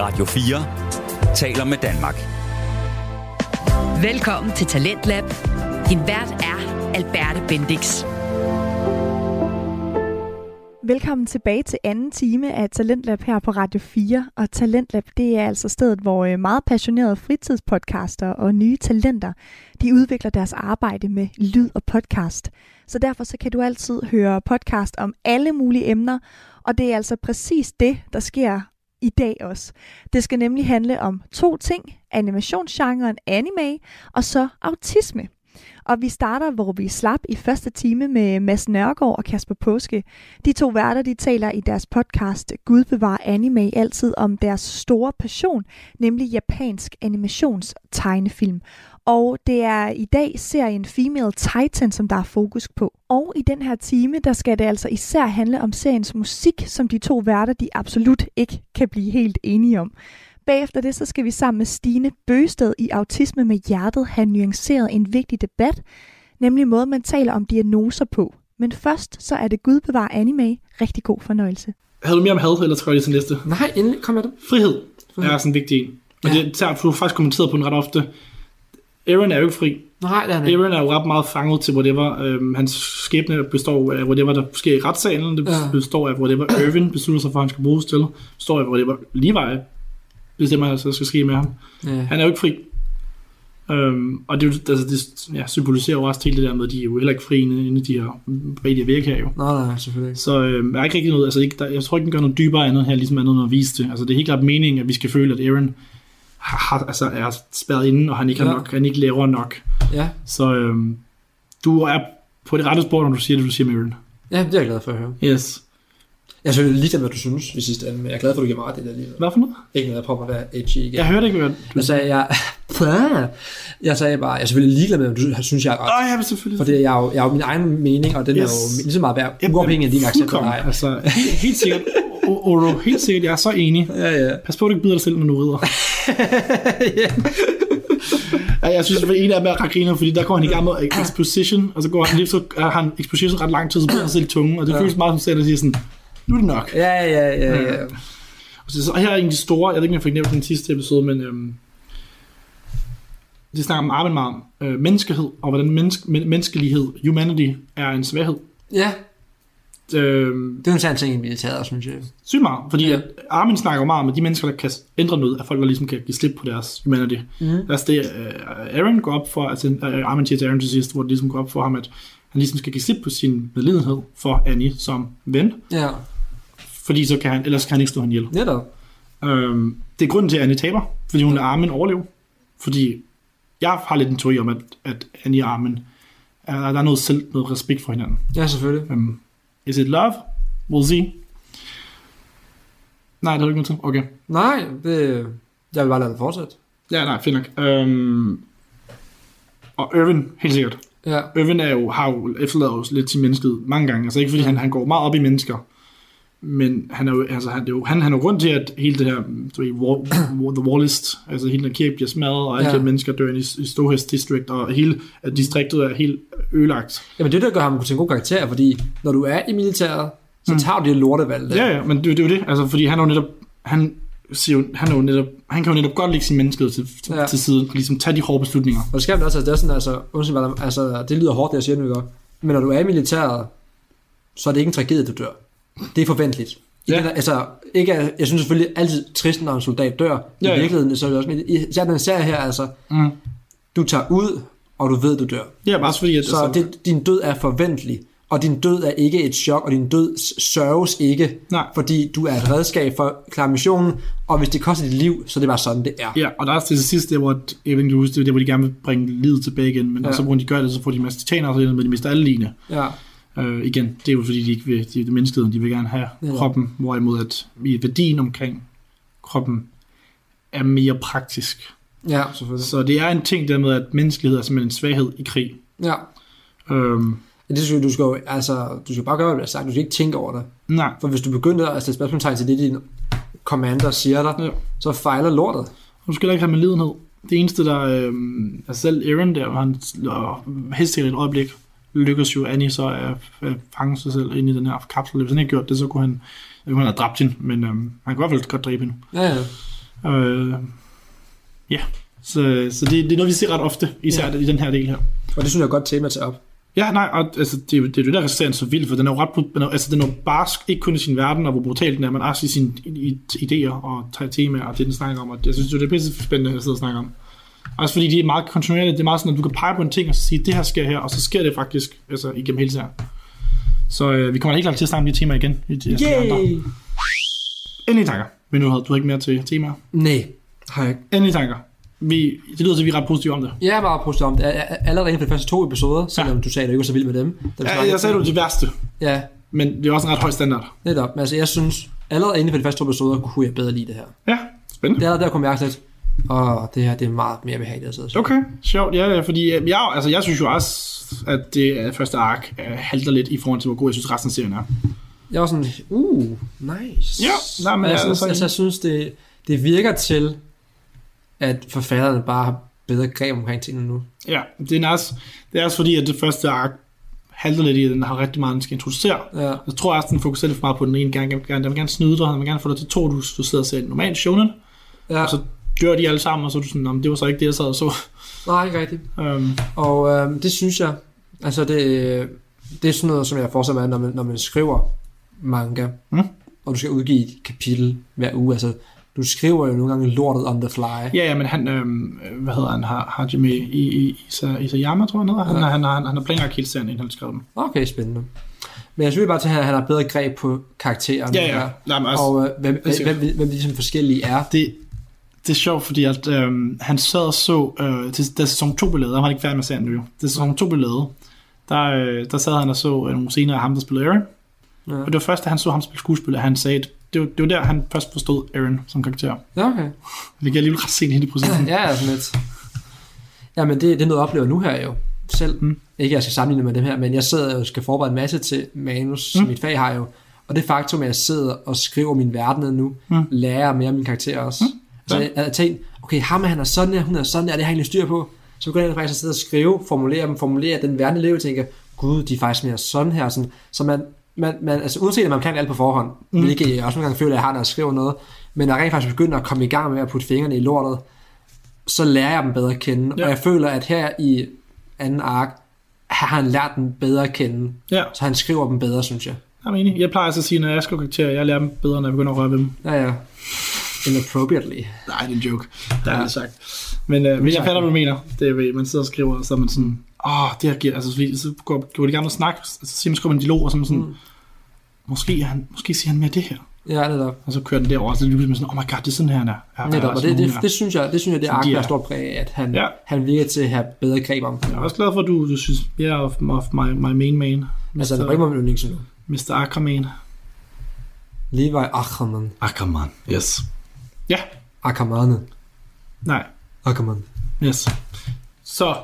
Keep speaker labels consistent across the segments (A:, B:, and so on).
A: Radio 4 taler med Danmark.
B: Velkommen til Talentlab. Din vært er Alberte Bendix.
C: Velkommen tilbage til anden time af Talentlab her på Radio 4. Og Talentlab, det er altså stedet, hvor øh, meget passionerede fritidspodcaster og nye talenter, de udvikler deres arbejde med lyd og podcast. Så derfor så kan du altid høre podcast om alle mulige emner, og det er altså præcis det, der sker i dag også. Det skal nemlig handle om to ting, animationsgenren anime og så autisme. Og vi starter, hvor vi slap i første time med Mads Nørgaard og Kasper Påske. De to værter, de taler i deres podcast Gud bevarer anime altid om deres store passion, nemlig japansk animationstegnefilm. Og det er i dag serien Female Titan, som der er fokus på. Og i den her time, der skal det altså især handle om seriens musik, som de to værter, de absolut ikke kan blive helt enige om. Bagefter det, så skal vi sammen med Stine Bøsted i Autisme med Hjertet have nuanceret en vigtig debat, nemlig måden, man taler om diagnoser på. Men først, så er det Gud bevar anime. Rigtig god fornøjelse.
D: Havde du mere om had, eller skal jeg lige til næste?
E: Nej, endelig kom med det.
D: Frihed er sådan en vigtig en. Og
E: Ja.
D: ja. det tager, du har faktisk kommenteret på den ret ofte. Aaron er jo ikke fri.
E: Nej, det er han ikke.
D: Aaron er jo ret meget fanget til whatever. Øhm, hans skæbne består af whatever, der sker i retssalen. Det
E: Ja.
D: består af whatever Irvin beslutter sig for, at han skal bruges til. består af whatever Levi bestemmer, at der skal ske med ham.
E: Ja.
D: Han er jo ikke fri. Øhm, og det, er jo- altså, det ja, symboliserer jo også til det der med, at de er jo heller ikke fri inde inde i de her rigtige væg her jo.
E: Nå, nej, selvfølgelig ikke.
D: Så øh, jeg er ikke rigtig noget, altså ikke, der, jeg tror ikke, den gør noget dybere andet her, ligesom andet end at vise det. Altså det er helt klart meningen, at vi skal føle, at Aaron har, har, altså, er spærret inde, og han ikke, har
E: Ja.
D: nok, han ikke laver nok.
E: Ja.
D: Så øh, du er på det rette spor, når du siger det, du siger med Aaron.
E: ja, det er jeg glad for at høre.
D: Yes.
E: Jeg synes lige hvad du synes i sidste ende, men jeg er glad for, at du giver mig ret i det alligevel.
D: Hvad for noget?
E: Ikke noget, jeg prøver at være edgy igen.
D: Jeg hørte ikke, hvad du...
E: Jeg sagde, jeg... jeg sagde bare, jeg er selvfølgelig ligeglad med, om du synes, jeg er ret.
D: Åh, ja, men selvfølgelig.
E: For det er jeg jo, jeg er jo min egen mening, og den yes. er
D: Yes.
E: jo lige så meget værd,
D: Jamen,
E: uafhængig af din accept eller
D: fuldkommen.
E: ej.
D: Altså, helt, helt sikkert. O- Oro, helt sikkert, jeg er så enig.
E: Ja, ja.
D: Pas på, at du ikke bider dig selv, når du rider. ja. Jeg synes, at en af dem er ret griner, fordi der går han i gang med exposition, og så går han lige så har han exposition ret lang tid, så bliver han selv i tungen, og det
E: Ja.
D: ja. føles meget som serien, der siger sådan, nu er det nok.
E: Ja, ja, ja, ja.
D: Ja. Og så, så her er en af de store, jeg ved ikke, om jeg fik nævnt den sidste episode, men øhm, det snakker om arbejde meget om øh, menneskehed, og hvordan menneske, men, menneskelighed, humanity, er en svaghed.
E: Ja,
D: Øh,
E: det er jo en sand ting i militæret, synes jeg.
D: sygt meget, fordi
E: Ja.
D: ja. Armin snakker jo meget om, at de mennesker, der kan ændre noget, er folk, der ligesom kan give slip på deres humanity.
E: Mhm.
D: Mm. Altså det, uh, Aaron går op for, altså uh, Armin siger til Aaron til sidst, hvor det ligesom går op for ham, at han ligesom skal give slip på sin medlidenhed for Annie som ven,
E: Ja,
D: fordi så kan han, ellers kan han ikke slå hende ihjel.
E: netop.
D: Øhm, det er grunden til, at Annie taber, fordi hun lader Armin overleve. Fordi jeg har lidt en teori om, at, at Annie og Armin, er, der er noget selv, noget respekt for hinanden.
E: Ja, selvfølgelig.
D: Um, is it love? We'll see. Nej, det er ikke noget til. Okay.
E: Nej, det... Jeg vil bare lade det fortsætte.
D: Ja, nej, fint nok. Um, og Irvin, helt sikkert.
E: Ja,
D: Irvin er jo, har jo efterladt os lidt til mennesket mange gange. Altså ikke fordi han, han går meget op i mennesker, men han er jo, altså, han, det er jo, han, han er jo grund til, at hele det her, du ved, war, war, the Wallist, altså hele den her kirke bliver smadret, og alle
E: Ja.
D: ja. de her mennesker dør ind i, i Stohest District, og hele at distriktet er helt ødelagt.
E: Jamen det er det, der gør ham til en god karakter, fordi når du er i militæret, så mm. tager du det lortevalg der.
D: Ja, ja, men det, det er jo det, altså fordi han er jo netop, han, siger, jo- han, er jo netop, han kan jo netop godt lægge sin menneskehed til, til,
E: Ja.
D: ja. til siden, og ligesom tage de hårde beslutninger.
E: Og det skal man også, altså, det er sådan, altså, undskyld, hvad der- altså, det lyder hårdt, det jeg siger nu, ikke? men når du er i militæret, så er det ikke en tragedie, du dør. Det er forventeligt.
D: Ja.
E: Ja. altså, ikke, at- jeg synes selvfølgelig altid trist, når en soldat dør. I
D: Ja, ja.
E: virkeligheden, så er det også, men i- især den serie her, altså,
D: Mm.
E: du tager ud, og du ved, du dør.
D: Ja, bare også fordi, at, altså-
E: Så det, din død er forventelig, og din død er ikke et chok, og din død s- sørges ikke,
D: Nej.
E: fordi du er et redskab for at klare missionen, og hvis det koster dit liv, så er det bare sådan, det er.
D: Ja, og der er også til sidst, der, hvor, jeg ved ikke, om du husker, det er der, hvor de gerne vil bringe livet tilbage igen, men
E: Ja.
D: ja. så bruger de gør det, så får de en masse titaner, og så ender det med, at de mister alle lignende.
E: Ja.
D: Øh, igen, det er jo fordi, de ikke vil, de, det er menneskeheden, de vil gerne have
E: Ja.
D: ja. kroppen, hvorimod at i værdien omkring kroppen er mere praktisk.
E: ja, selvfølgelig.
D: Så det er en ting der med, at menneskelighed er simpelthen en svaghed i krig.
E: Ja.
D: Øhm,
E: Men Det skal, du skal jo, altså, du skal bare gøre, hvad der bliver sagt. Du skal ikke tænke over det.
D: nej,
E: For hvis du begynder at stille spørgsmålstegn til det, din commander siger dig,
D: Ja.
E: så fejler lortet.
D: du skal heller ikke have med lidenhed. Det eneste, der øhm, altså selv Aaron der, han øh, hester et øjeblik, lykkes jo Annie så at, at fange sig selv ind i den her kapsel. Hvis han ikke gjort det, så kunne han, så kunne han have dræbt hende, men øhm, han kunne i hvert fald godt dræbe hende.
E: Ja, ja.
D: Øh, ja, så, så det, det er noget, vi ser ret ofte, især ja. i den her del her.
E: Og det synes jeg er et godt tema at tage op.
D: Ja, nej, og, altså, det, er jo- det er jo det, der gør serien så vild, for den er jo ret, brut- den er, altså, den er jo barsk, ikke kun i sin verden, og hvor brutal den er, men også i sine i- i- idéer og t- temaer, og det, den snakker om, og jeg synes jo, det er pisse spændende at sidde og snakke om. Også fordi det er meget kontinuerligt, det er meget sådan, at du kan pege på en ting, og så sige, det her sker her, og så sker det faktisk, altså igennem hele serien. Så øh, vi kommer helt klart til at snakke om de temaer igen. I de, i de andre.
E: Yay!
D: Endelige tanker. Men nu havde du har ikke mere til temaer.
E: Nej, har jeg ikke.
D: Endelige tanker. Vi, det lyder til, at vi er ret positive om det.
E: Jeg er meget positiv om det. Jeg- jeg- Allerede inden for de første to episoder, selvom ja. du sagde, at du ikke var så vild med dem. Da vi
D: Jeg,
E: snakkede-
D: jeg sagde, det var det værste,
E: Ja,
D: men det er også en ret høj standard.
E: netop. Men Altså, jeg synes, allerede inden for de første to episoder, kunne jeg bedre lide det her.
D: Ja, spændende.
E: Det er allerede der, kunne jeg mærke lidt, åh, det her det er meget mere behageligt at sidde og se."
D: Okay, sjovt. Ja, ja, fordi øh, jeg, altså, jeg synes jo også, at det øh, første ark øh, halter lidt i forhold til, hvor god jeg synes resten af serien er.
E: Jeg var sådan, uh, nice.
D: Ja, nej, men
E: men jeg,
D: jeg-
E: synes,
D: så-
E: altså, jeg synes, det, det virker til, at forfatterne bare har bedre greb omkring tingene nu.
D: Ja, det er også, det er også fordi, at det første ark halter lidt i, at den har rigtig meget, den skal introducere.
E: Ja,
D: Jeg tror også, den fokuserer lidt for meget på den ene gang. Den vil gerne, den vil gerne snyde dig, den vil gerne få dig til to, du, du sidder og ser en normal shonen,
E: ja.
D: og så dør de alle sammen, og så er du sådan, "Nå, men det var så ikke det, jeg sad og så.
E: nej, ikke rigtigt.
D: Øhm,
E: Og øh, det synes jeg, altså det, det er sådan noget, som jeg fortsætter med, når man, når man skriver manga,
D: Mm.
E: og du skal udgive et kapitel hver uge, altså du skriver jo nogle gange lortet on the fly.
D: ja, ja, men han, øhm, øh, hvad hedder han, har, Hajime I, I, Isa, Isayama, tror jeg, han hedder. Han,
E: Ja.
D: ja. han, han, han har planlagt hele serien, inden han skrev den.
E: Okay, spændende. Men jeg synes bare til, at han har bedre greb på karakteren.
D: Ja, ja. Nej, men altså, også,
E: Og øh, hvem, hvem, hvem, hvem, hvem de som forskellige er.
D: det, det er sjovt, fordi at, øhm, han sad og så, øh, til, da sæson 2 blev lavet, han var ikke færdig med serien nu, jo. da sæson 2 blev lavet, der, øh, der sad han og så øh, nogle scener af ham, der spillede Aaron,
E: Ja.
D: og det var først, da han så ham spille skuespiller, at han sagde, at det var, det var der, han først forstod Aaron som karakter.
E: Ja, okay.
D: Det kan alligevel ret sent hen i processen.
E: Ja, ja, sådan lidt. Jamen, det, det er noget, jeg oplever nu her jo. Selv. Mm.
D: Mm.
E: Ikke, at jeg skal sammenligne med dem her, men jeg sidder og skal forberede en masse til manus, mm. som mit fag har jo. Og det faktum, at jeg sidder og skriver min verden ned nu, mm.
D: Mm.
E: lærer jeg mere om min karakter også. Mm. Altså,
D: Ja.
E: jeg, jeg tænkte, okay, ham her, han er sådan her, hun er sådan her, det har jeg egentlig styr på. Så går jeg ind og faktisk sidde og skrive, formulere dem, formulere den verden, jeg lever, i, og tænker, gud, de er faktisk mere sådan her. Sådan. Så man, man, man, altså uanset at man kan alt på forhånd, mm. hvilket jeg også nogle gange føler, at jeg har, når jeg skriver noget, men når jeg rent faktisk begynder at komme i gang med at putte fingrene i lortet, så lærer jeg dem bedre at kende. Ja.
D: Ja.
E: Og jeg føler, at her i anden ark, har han lært dem bedre at kende.
D: Ja,
E: Så han skriver dem bedre, synes jeg.
D: jeg er enig. Jeg plejer altså at sige, når jeg skriver karakterer, jeg lærer dem bedre, når jeg begynder at røre ved dem.
E: Ja, ja. Inappropriately.
D: Nej, det er en joke. Det
E: Ja.
D: er ja. sagt. Men, øh, men jeg
E: sagt.
D: fatter, hvad du mener. Det er, ved, man sidder og skriver, og så er man sådan, åh, det her giver, altså fordi, så går, går det gerne og snak, og så siger man, skriver man en dialog, og så er man sådan,
E: Mm.
D: mm. måske, er han, måske siger han mere det her.
E: Ja, netop.
D: Og så kører den derover, og så er det lige pludselig sådan, oh my god, det er sådan her, han er. Ja,
E: netop. Og det, det, det, synes jeg, det synes jeg, det er
D: Som
E: ark,
D: de
E: der
D: er.
E: står præg af, at han,
D: Ja.
E: han virker til at have bedre greb om.
D: jeg er også glad for, at du, du synes, yeah, of, of my, my main man.
E: Altså, det bringer mig min yndlings nu.
D: Mr. Ackerman.
E: Levi Ackerman.
D: Ackerman, yes. Ja,
E: Ackermane.
D: nej,
E: Ackerman.
D: yes. Så,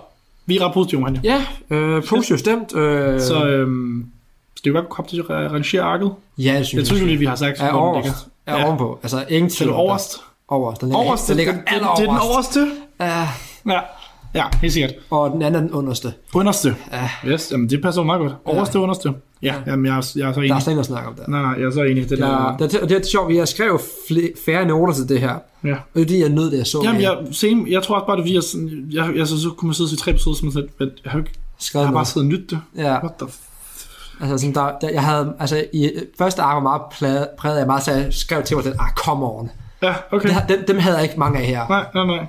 D: vi er ret positive, Magnus.
E: Ja, øh, positivt stemt. Øh,
D: Så, øhm, skal vi bare komme til at rangere arket?
E: ja, jeg synes,
D: Jeg synes jo lige, vi har sagt,
E: er
D: hvor den ligger.
E: overst. Er
D: Ja.
E: ovenpå. Altså, ingen
D: Til
E: tvivl.
D: det
E: om det.
D: overst.
E: Overst. Den ligger,
D: Overst,
E: den
D: det,
E: ligger
D: det, det,
E: aller
D: det er den
E: overst.
D: overste.
E: Ja,
D: Ja, ja helt sikkert.
E: og den anden er den underste.
D: Underste.
E: Ja.
D: Yes, jamen det passer jo meget godt. Overste, underste. Ja, jamen jeg, er- jeg er så
E: Der er
D: enig.
E: slet ikke noget at snakke om der.
D: Nej, nej, jeg er så enig. Det der,
E: Ja, det, er- det er sjovt, vi har skrevet flere, færre noter til det her.
D: ja.
E: Og det er det, jeg nød, det jeg så.
D: Jamen,
E: men
D: jeg, same, jeg tror også bare, det er fordi, jeg, sådan- jeg, jeg, så, så kunne man sidde og se tre episoder, som jeg, sagde, at jeg har, jo ikke,
E: skrev
D: jeg har
E: noget.
D: bare siddet og nyttet det.
E: Ja,
D: What the f-
E: altså, sådan, der, der, jeg havde, altså, i øh, første ark var meget plade, præget af meget, så jeg skrev til mig den, ah, come on.
D: Ja, okay.
E: Det, har- dem, dem havde jeg ikke mange af her.
D: Nej, nej, nej.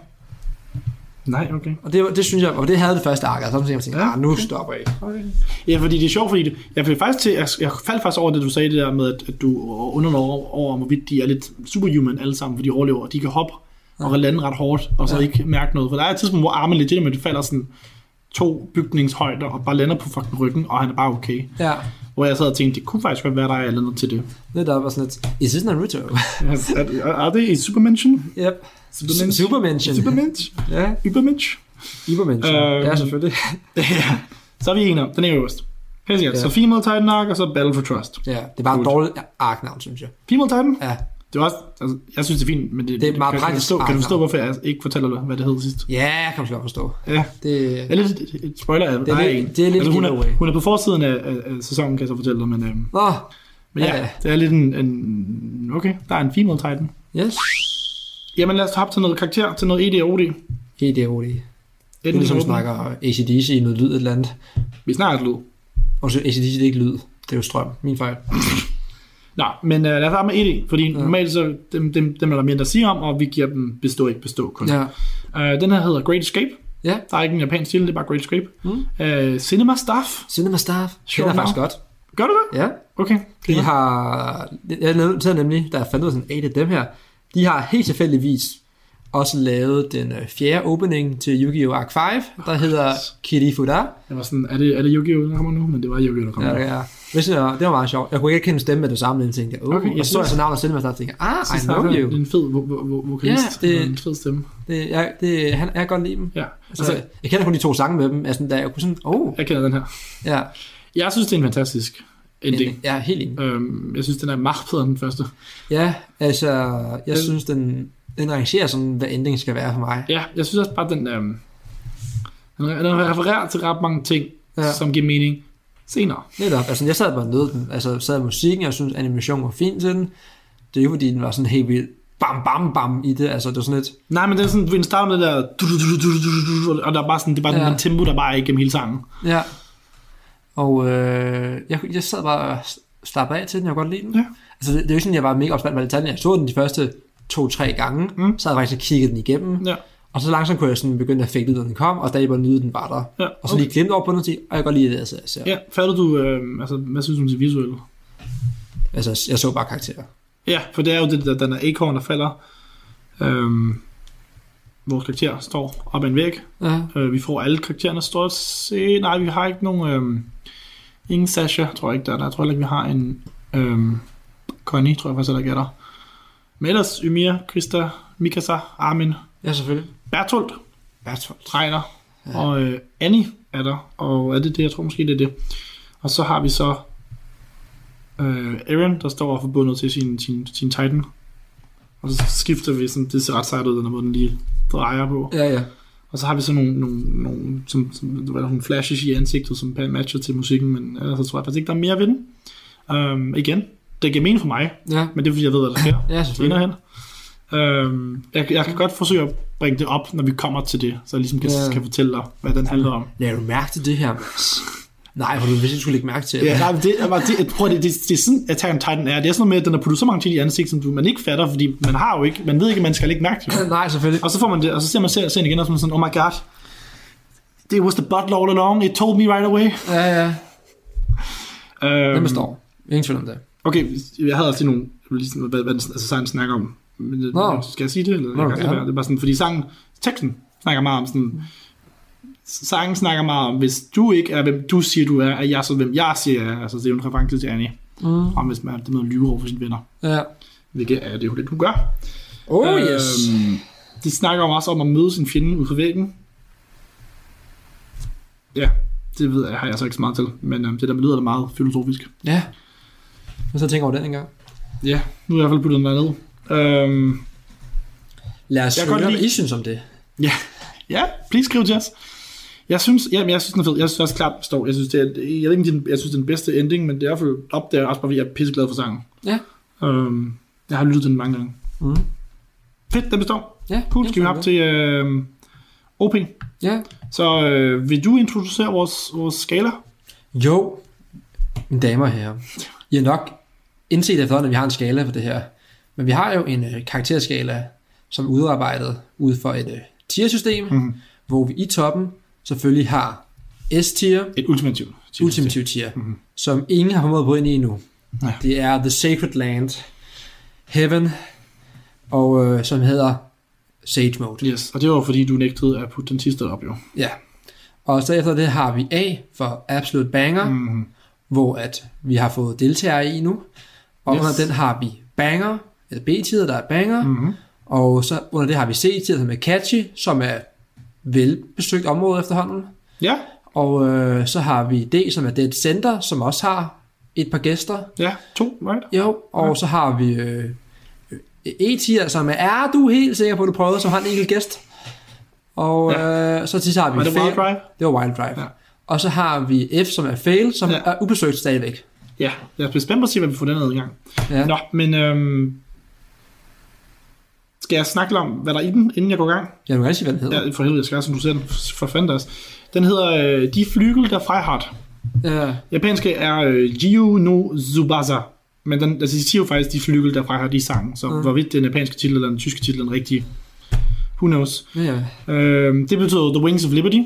D: Nej, okay.
E: Og det, var- det synes jeg, og det havde det første ark, og så tænkte jeg, tænkte,
D: Ja.
E: ah, nu stopper jeg.
D: Ja, fordi det er sjovt, fordi det, jeg, blev faktisk til, jeg, jeg faldt faktisk over det, du sagde det der med, at, at du under over, over, hvorvidt de er lidt superhuman alle sammen, fordi de overlever, og de kan hoppe og lande ret hårdt, og så
E: Ja.
D: ja. ikke mærke noget. For der er et tidspunkt, hvor armen legitimt falder sådan to bygningshøjder og bare lander på fucking ryggen, og han er bare okay.
E: Ja,
D: Hvor jeg sad og tænkte, det kunne faktisk godt være, der er et eller andet til det.
E: netop og sådan lidt, is this Naruto?
D: Er, er, er det i Supermention?
E: yep.
D: Supermensch?
E: Supermention.
D: Supermensch?
E: Ja,
D: Übermensch?
E: Supermention.
D: Øhm.
E: Ja, selvfølgelig.
D: ja. Så er vi enige om, den er øverst. Helt sikkert.
E: Ja.
D: Så Female Titan Arc, og så Battle for Trust.
E: Ja, det er bare et
D: Cool.
E: dårligt arknavn, synes jeg.
D: Female Titan?
E: Ja,
D: Det er også, altså, jeg synes, det er fint, men det,
E: Det er
D: kan,
E: meget
D: kan, du
E: praktisk
D: forstå, kan du
E: arbejde.
D: forstå, hvorfor jeg ikke fortæller dig, hvad det hed sidst?
E: ja, jeg kan måske godt forstå.
D: Ja.
E: Det,
D: Det er lidt et- et spoiler af
E: Det er
D: nej, en.
E: lidt-
D: Altså,
E: det er lidt
D: hun,
E: giveaway.
D: er, hun er på forsiden af, af, af sæsonen, kan jeg så fortælle dig, men, øhm,
E: Nå,
D: men ja,
E: Ja, ja.
D: det er lidt en, en... Okay, der er en female titan.
E: yes.
D: Jamen lad os hoppe til noget karakter, til noget ED og OD.
E: EDOD. Det er
D: Endelig
E: ligesom
D: åben.
E: snakker ACDC i noget lyd et eller andet.
D: Vi snakker lyd.
E: Og så ACDC det er ikke lyd. Det er jo strøm. Min fejl.
D: Nå, men øh, lad os starte med ED, fordi ja.
E: Ja.
D: normalt så dem, dem, dem er der mere der siger om, og vi giver dem bestå ikke bestå kun. Ja.
E: Ja.
D: Øh, den her hedder Great Escape.
E: Ja.
D: Der er ikke en japansk titel, det er bare Great Escape.
E: Mm.
D: Øh, Cinema Staff.
E: Cinema Staff.
D: Sjovt
E: Sjovt er faktisk
D: navn.
E: godt.
D: Gør du det?
E: Ja.
D: Okay.
E: De har... Jeg noterede nemlig, da jeg fandt ud af sådan et af dem her. De har helt tilfældigvis også lavet den øh, fjerde opening til Yu-Gi-Oh! Arc 5, der hedder Kirifuda.
D: Jeg var sådan, er det, er det Yu-Gi-Oh, der kommer nu? Men det var Yu-Gi-Oh, der kom
E: Ja,
D: ja, ja.
E: ja. Hvis jeg, det var meget sjovt. Jeg kunne ikke kende stemme med det samme, men jeg tænkte, oh,
D: Okay,
E: okay,
D: jeg
E: jeg så
D: synes-
E: jeg så navnet Cinema Staff, og tænkte, ah, I know
D: Det
E: you.
D: er en fed vo- vo- vo- vokalist.
E: Ja, det-
D: og En fed stemme.
E: Det, jeg, det, han, jeg kan godt lide dem.
D: Ja.
E: Altså,
D: Altså,
E: jeg kender kun de to sange med dem. Altså, da jeg kunne sådan, oh,
D: jeg kender den her.
E: ja,
D: Jeg synes, det er en fantastisk ending.
E: jeg er helt enig.
D: Øhm, jeg synes, den er meget bedre end den første.
E: Ja, altså, jeg
D: Den-
E: synes, den, den arrangerer sådan, hvad endingen skal være for mig.
D: Ja, jeg synes også bare, den, øhm, den, den refererer til ret mange ting, ja.
E: Ja.
D: som giver mening senere.
E: Netop, altså, jeg sad bare nede i den, altså, sad i musikken, jeg synes, animationen var fin til den. Det er jo, fordi den var sådan helt vildt bam, bam, bam i det, altså, det var sådan lidt,
D: Nej, men det er sådan, du starter med det der, du, du, du, du, du, du, og der er bare sådan, det er bare ja.
E: Ja.
D: den tempo, der bare er igennem hele sangen.
E: ja. Og øh, jeg, jeg sad bare og slappede af til den, jeg kunne godt lide den.
D: Ja.
E: Altså, det, det er jo ikke sådan, jeg var mega opspændt med detaljen. Jeg så den de første to-tre gange,
D: Mm.
E: mm. så havde jeg faktisk kigget den igennem.
D: Ja.
E: Og så langsomt kunne jeg sådan begynde at fægte ud, når den kom, og stadig bare nyde, at den var der.
D: Ja,
E: Og så lige glemte over på den og sige, og jeg kan godt lide det, altså, jeg ser.
D: Ja, fatter du, øh, altså, hvad synes du om det visuelle?
E: Altså, jeg så bare karakterer.
D: Ja, for det er jo det der, den der akorn, der falder. Øhm, vores karakter står op ad en væg.
E: Ja.
D: Øh, vi får alle karaktererne stort set. Nej, vi har ikke nogen... Øhm, ingen Sasha, tror jeg ikke, der er der. Jeg tror heller ikke, vi har en... Øhm, Connie, tror jeg faktisk heller ikke er der. Men ellers Ymir, Krista, Mikasa, Armin,
E: ja, selvfølgelig.
D: Bertolt,
E: Bertolt.
D: Reiner ja. og øh, Annie er der. Og er det det? Jeg tror måske, det er det. Og så har vi så øh, Aaron, der står og er forbundet til sin, sin, sin Titan. Og så skifter vi sådan, det ser ret sejt ud, den her måde, den lige drejer på.
E: Ja, ja.
D: Og så har vi så nogle, nogle, nogle, som, som, der var nogle flashes i ansigtet, som pa- matcher til musikken, men ellers så tror jeg faktisk ikke, der er mere ved den. Øhm, igen, det giver mening for mig,
E: Ja,
D: men det er fordi, jeg ved, hvad der sker
E: ja
D: senere
E: selvfølgelig.
D: hen. Øhm, jeg, jeg kan godt forsøge at bringe det op, når vi kommer til det, så jeg ligesom kan,
E: Ja.
D: kan fortælle dig, hvad den handler om.
E: Lad du mærke til det her, Mads? Nej, for du vidste, du skulle lægge mærke til det.
D: Ja, nej, men det, er bare- det, jeg tror, det, det, det, er sådan, at Titan Titan er. Det er sådan noget med, at den har puttet så mange ting i ansigtet, som du, man ikke fatter, fordi man har jo ikke, man ved ikke, at man skal lægge mærke til det.
E: Nej, selvfølgelig.
D: Og så får man det, og så ser man serien serien igen, og så er man sådan, oh my god, it was the butler all along, it told me right away.
E: Ja, ja. Den
D: Øhm,
E: består. Ingen tvivl om det.
D: Okay, jeg havde også lige nogle, ligesom, hvad, hvad den, altså, sangen snakker om. Men, det-
E: Nå.
D: Skal jeg sige det? Eller,
E: Nå,
D: jeg kan
E: ja.
D: ja. det er bare sådan, fordi sangen, teksten snakker meget om sådan, sangen snakker meget om, hvis du ikke er, hvem du siger, du er, er jeg så, hvem jeg siger, jeg er. Altså, det er jo en reference til Annie.
E: Mm.
D: Om hvis man, det med at lyve over for sine venner.
E: Ja.
D: Hvilket er det jo det, du gør.
E: Oh, yes.
D: Øhm, de snakker jo også om at møde sin fjende ude på væggen. Ja, det ved jeg, har jeg så ikke så meget til. Men øhm, det der lyder da meget filosofisk.
E: Ja. Men så tænker over den en gang.
D: Ja, nu er jeg i hvert fald puttet den dernede. Øhm,
E: Lad os
D: Jeg
E: jeg
D: kan godt
E: høre, hvad
D: lide-
E: I synes om det.
D: Ja, ja, please skriv til os. Jeg synes, jamen, jeg synes, den er fed. Jeg synes også klart, den står. Jeg synes, det er, jeg ved ikke, om det er den- jeg synes, det er den bedste ending, men det er i hvert fald op der, også bare fordi jeg er pisseglad for sangen.
E: Ja.
D: Øhm, jeg har lyttet til den mange gange.
E: Mm.
D: Fedt, den består.
E: Ja,
D: Cool, skal vi op til øh, OP.
E: Ja.
D: Så øh, vil du introducere vores, vores skala?
E: Jo, mine damer og herrer, I har nok indset efterhånden, at vi har en skala for det her. Men vi har jo en øh, karakterskala, som er udarbejdet ud for et øh, tiersystem,
D: Mhm.
E: mm-hmm. hvor vi i toppen selvfølgelig har S-tier,
D: Et ultimativt.
E: ultimative tier, mm-hmm. som ingen har formået at bryde ind i endnu.
D: Ja.
E: Det er The Sacred Land, Heaven, og øh, som hedder Sage Mode.
D: Yes, og det var jo, fordi, du nægtede at putte den sidste op, jo.
E: Ja. Og så efter det har vi A for Absolute Banger,
D: Mm-hmm.
E: hvor at vi har fået deltagere i nu. Og
D: Yes.
E: yes. under den har vi banger, eller B-tider, der er banger. Mm.
D: Mm-hmm.
E: Og så under det har vi C-tider, som er catchy, som er velbesøgt område efterhånden.
D: Ja,
E: Og øh, så har vi D, som er Dead Center, som også har et par gæster.
D: ja, to, right?
E: Jo, og ja. så har vi øh, øh, E-tier, som er, er du helt sikker på, at du prøvede, som har en enkelt gæst. Og ja. øh, så til så har vi
D: Var det
E: fail.
D: Wild Drive?
E: Det var Wild Drive.
D: Ja.
E: Ja. Og så har vi F, som er fail, som
D: Ja.
E: ja. er ubesøgt stadigvæk.
D: Ja, jeg er spændt på at se, hvad vi får den adgang.
E: Ja.
D: Nå, men øhm, Skal jeg snakke om, hvad der er i den, inden jeg går i gang?
E: Jeg vil gerne sige, hvad den hedder.
D: Ja, for helvede, jeg skal også, som du ser den, for fanden også. Den hedder øh, De Flygel der Freiheit.
E: Ja.
D: Japanske er øh, Jiu no Tsubasa. Men den, altså, de siger jo faktisk, de flygel der Freiheit i sangen. Så
E: Mm.
D: mm. hvorvidt den japanske titel eller den tyske titel er den rigtige. Who knows?
E: Ja, ja.
D: Øhm, det betyder The Wings of Liberty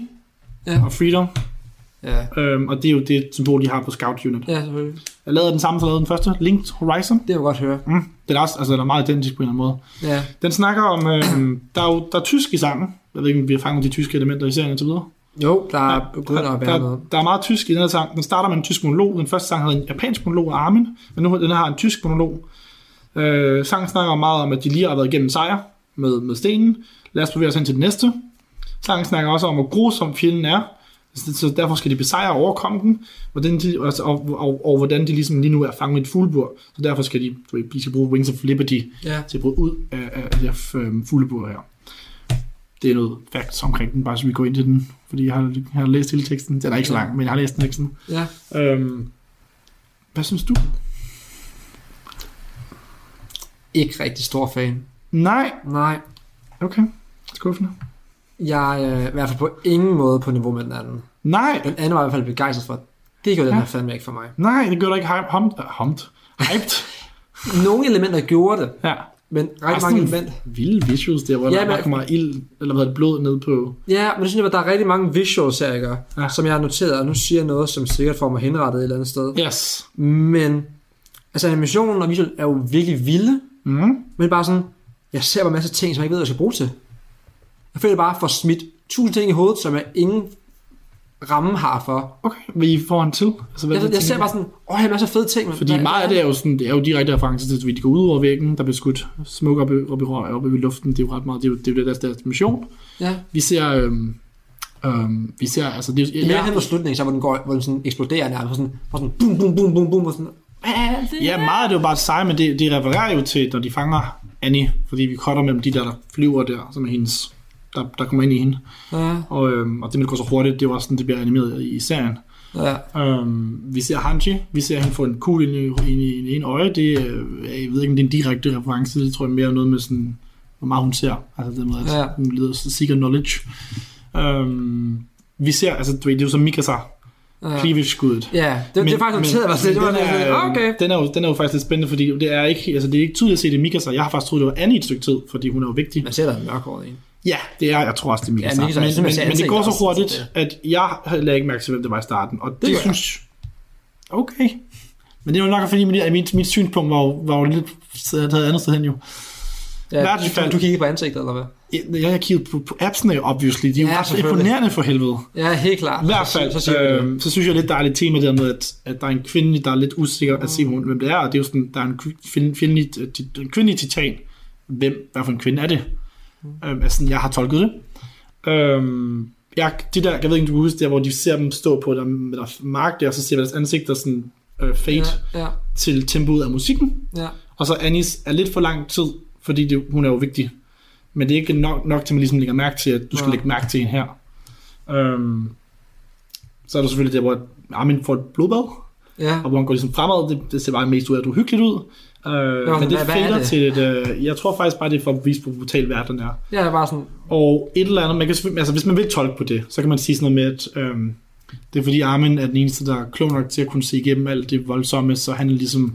E: Ja.
D: og Freedom.
E: Ja,
D: Øhm, og det er jo det symbol, de har på Scout Unit.
E: ja selvfølgelig.
D: Jeg lavede den samme, som jeg lavede den første, Linked Horizon.
E: Det har jeg godt høre.
D: Mm. Den er også altså, den er meget identisk på en eller anden måde.
E: Ja.
D: Den snakker om, øh, der, er jo, der er tysk i sangen. Jeg ved ikke, om vi har fanget de tyske elementer i serien og så videre.
E: Jo, der er begyndt
D: der,
E: at være
D: der,
E: noget.
D: der er meget tysk i den her sang. Den starter med en tysk monolog. Den første sang havde en japansk monolog af Armin, men nu den her har en tysk monolog. Øh, sangen snakker meget om, at de lige har været igennem sejr med, med stenen. Lad os bevæge os hen til det næste. Sangen snakker også om, hvor grusom fjenden er. Så, så derfor skal de besejre og overkomme den, hvordan de, altså, og, og, og, og, hvordan de ligesom lige nu er fanget i et fuglebur. Så derfor skal de, du ved, de skal bruge Wings of Liberty
E: Ja.
D: til at bryde ud af, af, af det her øh, fuglebur her. Det er noget facts omkring den, bare så vi går ind til den, fordi jeg har, jeg har læst hele teksten. Den er ikke så lang, men jeg har læst teksten.
E: Ja.
D: Øhm, hvad synes du?
E: Ikke rigtig stor fan.
D: Nej,
E: Nej.
D: okay. Skuffende.
E: Jeg er øh, i hvert fald på ingen måde på niveau med den anden.
D: Nej,
E: Den anden var jeg i hvert fald begejstret for. Det gjorde den
D: Ja.
E: her fandme ikke for mig.
D: nej, det gør da ikke hype, humped, uh, humped, hyped.
E: Nogle elementer gjorde det,
D: Ja.
E: men rigtig mange elementer...
D: vilde visuals der, hvor
E: Ja,
D: ja, der
E: men-
D: bare kommer ild, eller hvad hedder det, blod ned på.
E: Ja, men det synes jeg, at der er rigtig mange visuals her, ikke? Ja.
D: Ja.
E: som jeg har noteret, og nu siger jeg noget, som sikkert får mig henrettet et eller andet sted.
D: Yes.
E: Men, altså animationen og visual er jo virkelig vilde,
D: Mm.
E: men bare sådan, jeg ser bare en masse ting, som jeg ikke ved, hvad jeg skal bruge til. Jeg føler bare for smidt tusind ting i hovedet, som jeg ingen ramme har for.
D: Okay, vil I få en til? Altså, hvad
E: Jeg, jeg ser bare sådan, åh, jeg har masser af fede ting. Men
D: Fordi
E: hvad-
D: meget af det er jo, sådan, det er jo direkte referencer til, at de går ud over væggen, der bliver skudt smuk op, i- op, i, rø- op i luften. Det er jo ret meget, det er jo, det er jo det, deres, deres mission.
E: Ja,
D: Vi ser, øhm, øhm, vi ser, altså, det er,
E: det er
D: jo-
E: mere hen
D: ja,
E: på slutningen, så hvor den, går, hvor den sådan eksploderer nærmest, sådan, hvor sådan, bum, bum, bum, bum, bum, og sådan, hvad er det?
D: ja, meget af det er jo bare sej, men det, det refererer jo til, når de fanger Annie, fordi vi cutter mellem de der, der flyver der, som er hendes, der, der kommer ind i hende.
E: Ja,
D: Og, øhm, og det, med det går så hurtigt, det er jo også sådan, det bliver animeret i, i serien.
E: ja.
D: Øhm, vi ser Hanji, vi ser, at han får en kugle ind i, ind i, ind i en øje. Det, øh, jeg ved ikke, om det er en direkte reference, det tror jeg mere er noget med sådan, hvor meget hun ser. Altså det med, at
E: Ja.
D: ja. hun leder seeker knowledge. Øhm, vi ser, altså du ved, det er jo som Mikasa,
E: ja.
D: cleavage-skuddet.
E: Ja, det, men, det er faktisk noteret mig selv. Det var
D: den,
E: sådan,
D: er,
E: okay.
D: den, er jo, den er jo faktisk lidt spændende, fordi det er ikke, altså, det er ikke tydeligt at se, det er Mikasa. Jeg har faktisk troet, det var Annie et stykke tid, fordi hun er jo vigtig.
E: Man ser, der er en mørkhåret en.
D: Ja, det er, jeg tror også, det er Mikasa.
E: Ja, Mikasa, jeg
D: men,
E: synes, man
D: men,
E: ser
D: men det
E: ansigtet
D: går så
E: også, så
D: hurtigt, at jeg lagde ikke mærke til, hvem det var i starten. Og det,
E: gør
D: det
E: jeg.
D: synes... Okay. Men det er jo nok, fordi mit, mit, mit synspunkt var jo, var jo lidt taget andet sted hen jo.
E: Ja,
D: hvert
E: du-
D: fald-
E: Du kigger på ansigtet, eller hvad?
D: Jeg, jeg har kigget på, på appsene, obviously. De er jo
E: Ja,
D: ja, ret
E: selvfølgelig.
D: imponerende for helvede.
E: Ja, helt klart.
D: I hvert
E: Så-
D: fald,
E: Altså, Så siger vi det.
D: øh, så synes jeg lidt, der er lidt tema der med, at, at der er en kvinde, der er lidt usikker at se, hun, hvem det er. Og det er jo sådan, der er en kvi- fin- kvindelig, ti- en kvindelig titan. Hvem, hvad for en kvinde er det?
E: Mm.
D: Øhm, altså, jeg har tolket det. Øhm, jeg, de der, jeg ved ikke, om du kan huske der, hvor de ser dem stå på der, med der mark der, og så ser vi deres ansigter sådan øh, fade
E: Ja,
D: ja.
E: ja,
D: til tempoet af musikken.
E: ja.
D: Og så Anis er lidt for lang tid, fordi det, hun er jo vigtig. Men det er ikke nok, nok til, at man ligesom lægger mærke til, at du skal
E: Nej.
D: lægge mærke til hende her. Øhm, så er der selvfølgelig det, hvor Armin får et blodbad,
E: ja.
D: og hvor han går ligesom fremad. Det, det ser bare mest ud af, at du er hyggeligt ud. Øh,
E: men
D: men det
E: hvad- hvad er
D: fader
E: det?
D: til et... Øh, jeg tror faktisk bare, det er for at vise, hvor brutal verden er.
E: Jeg er bare sådan,
D: Og et eller andet, man kan, selvfølgelig- altså hvis man vil tolke på det, så kan man sige sådan noget med, at øhm, det er fordi Armin er den eneste, der er klog nok til at kunne se igennem alt det voldsomme, så han er ligesom,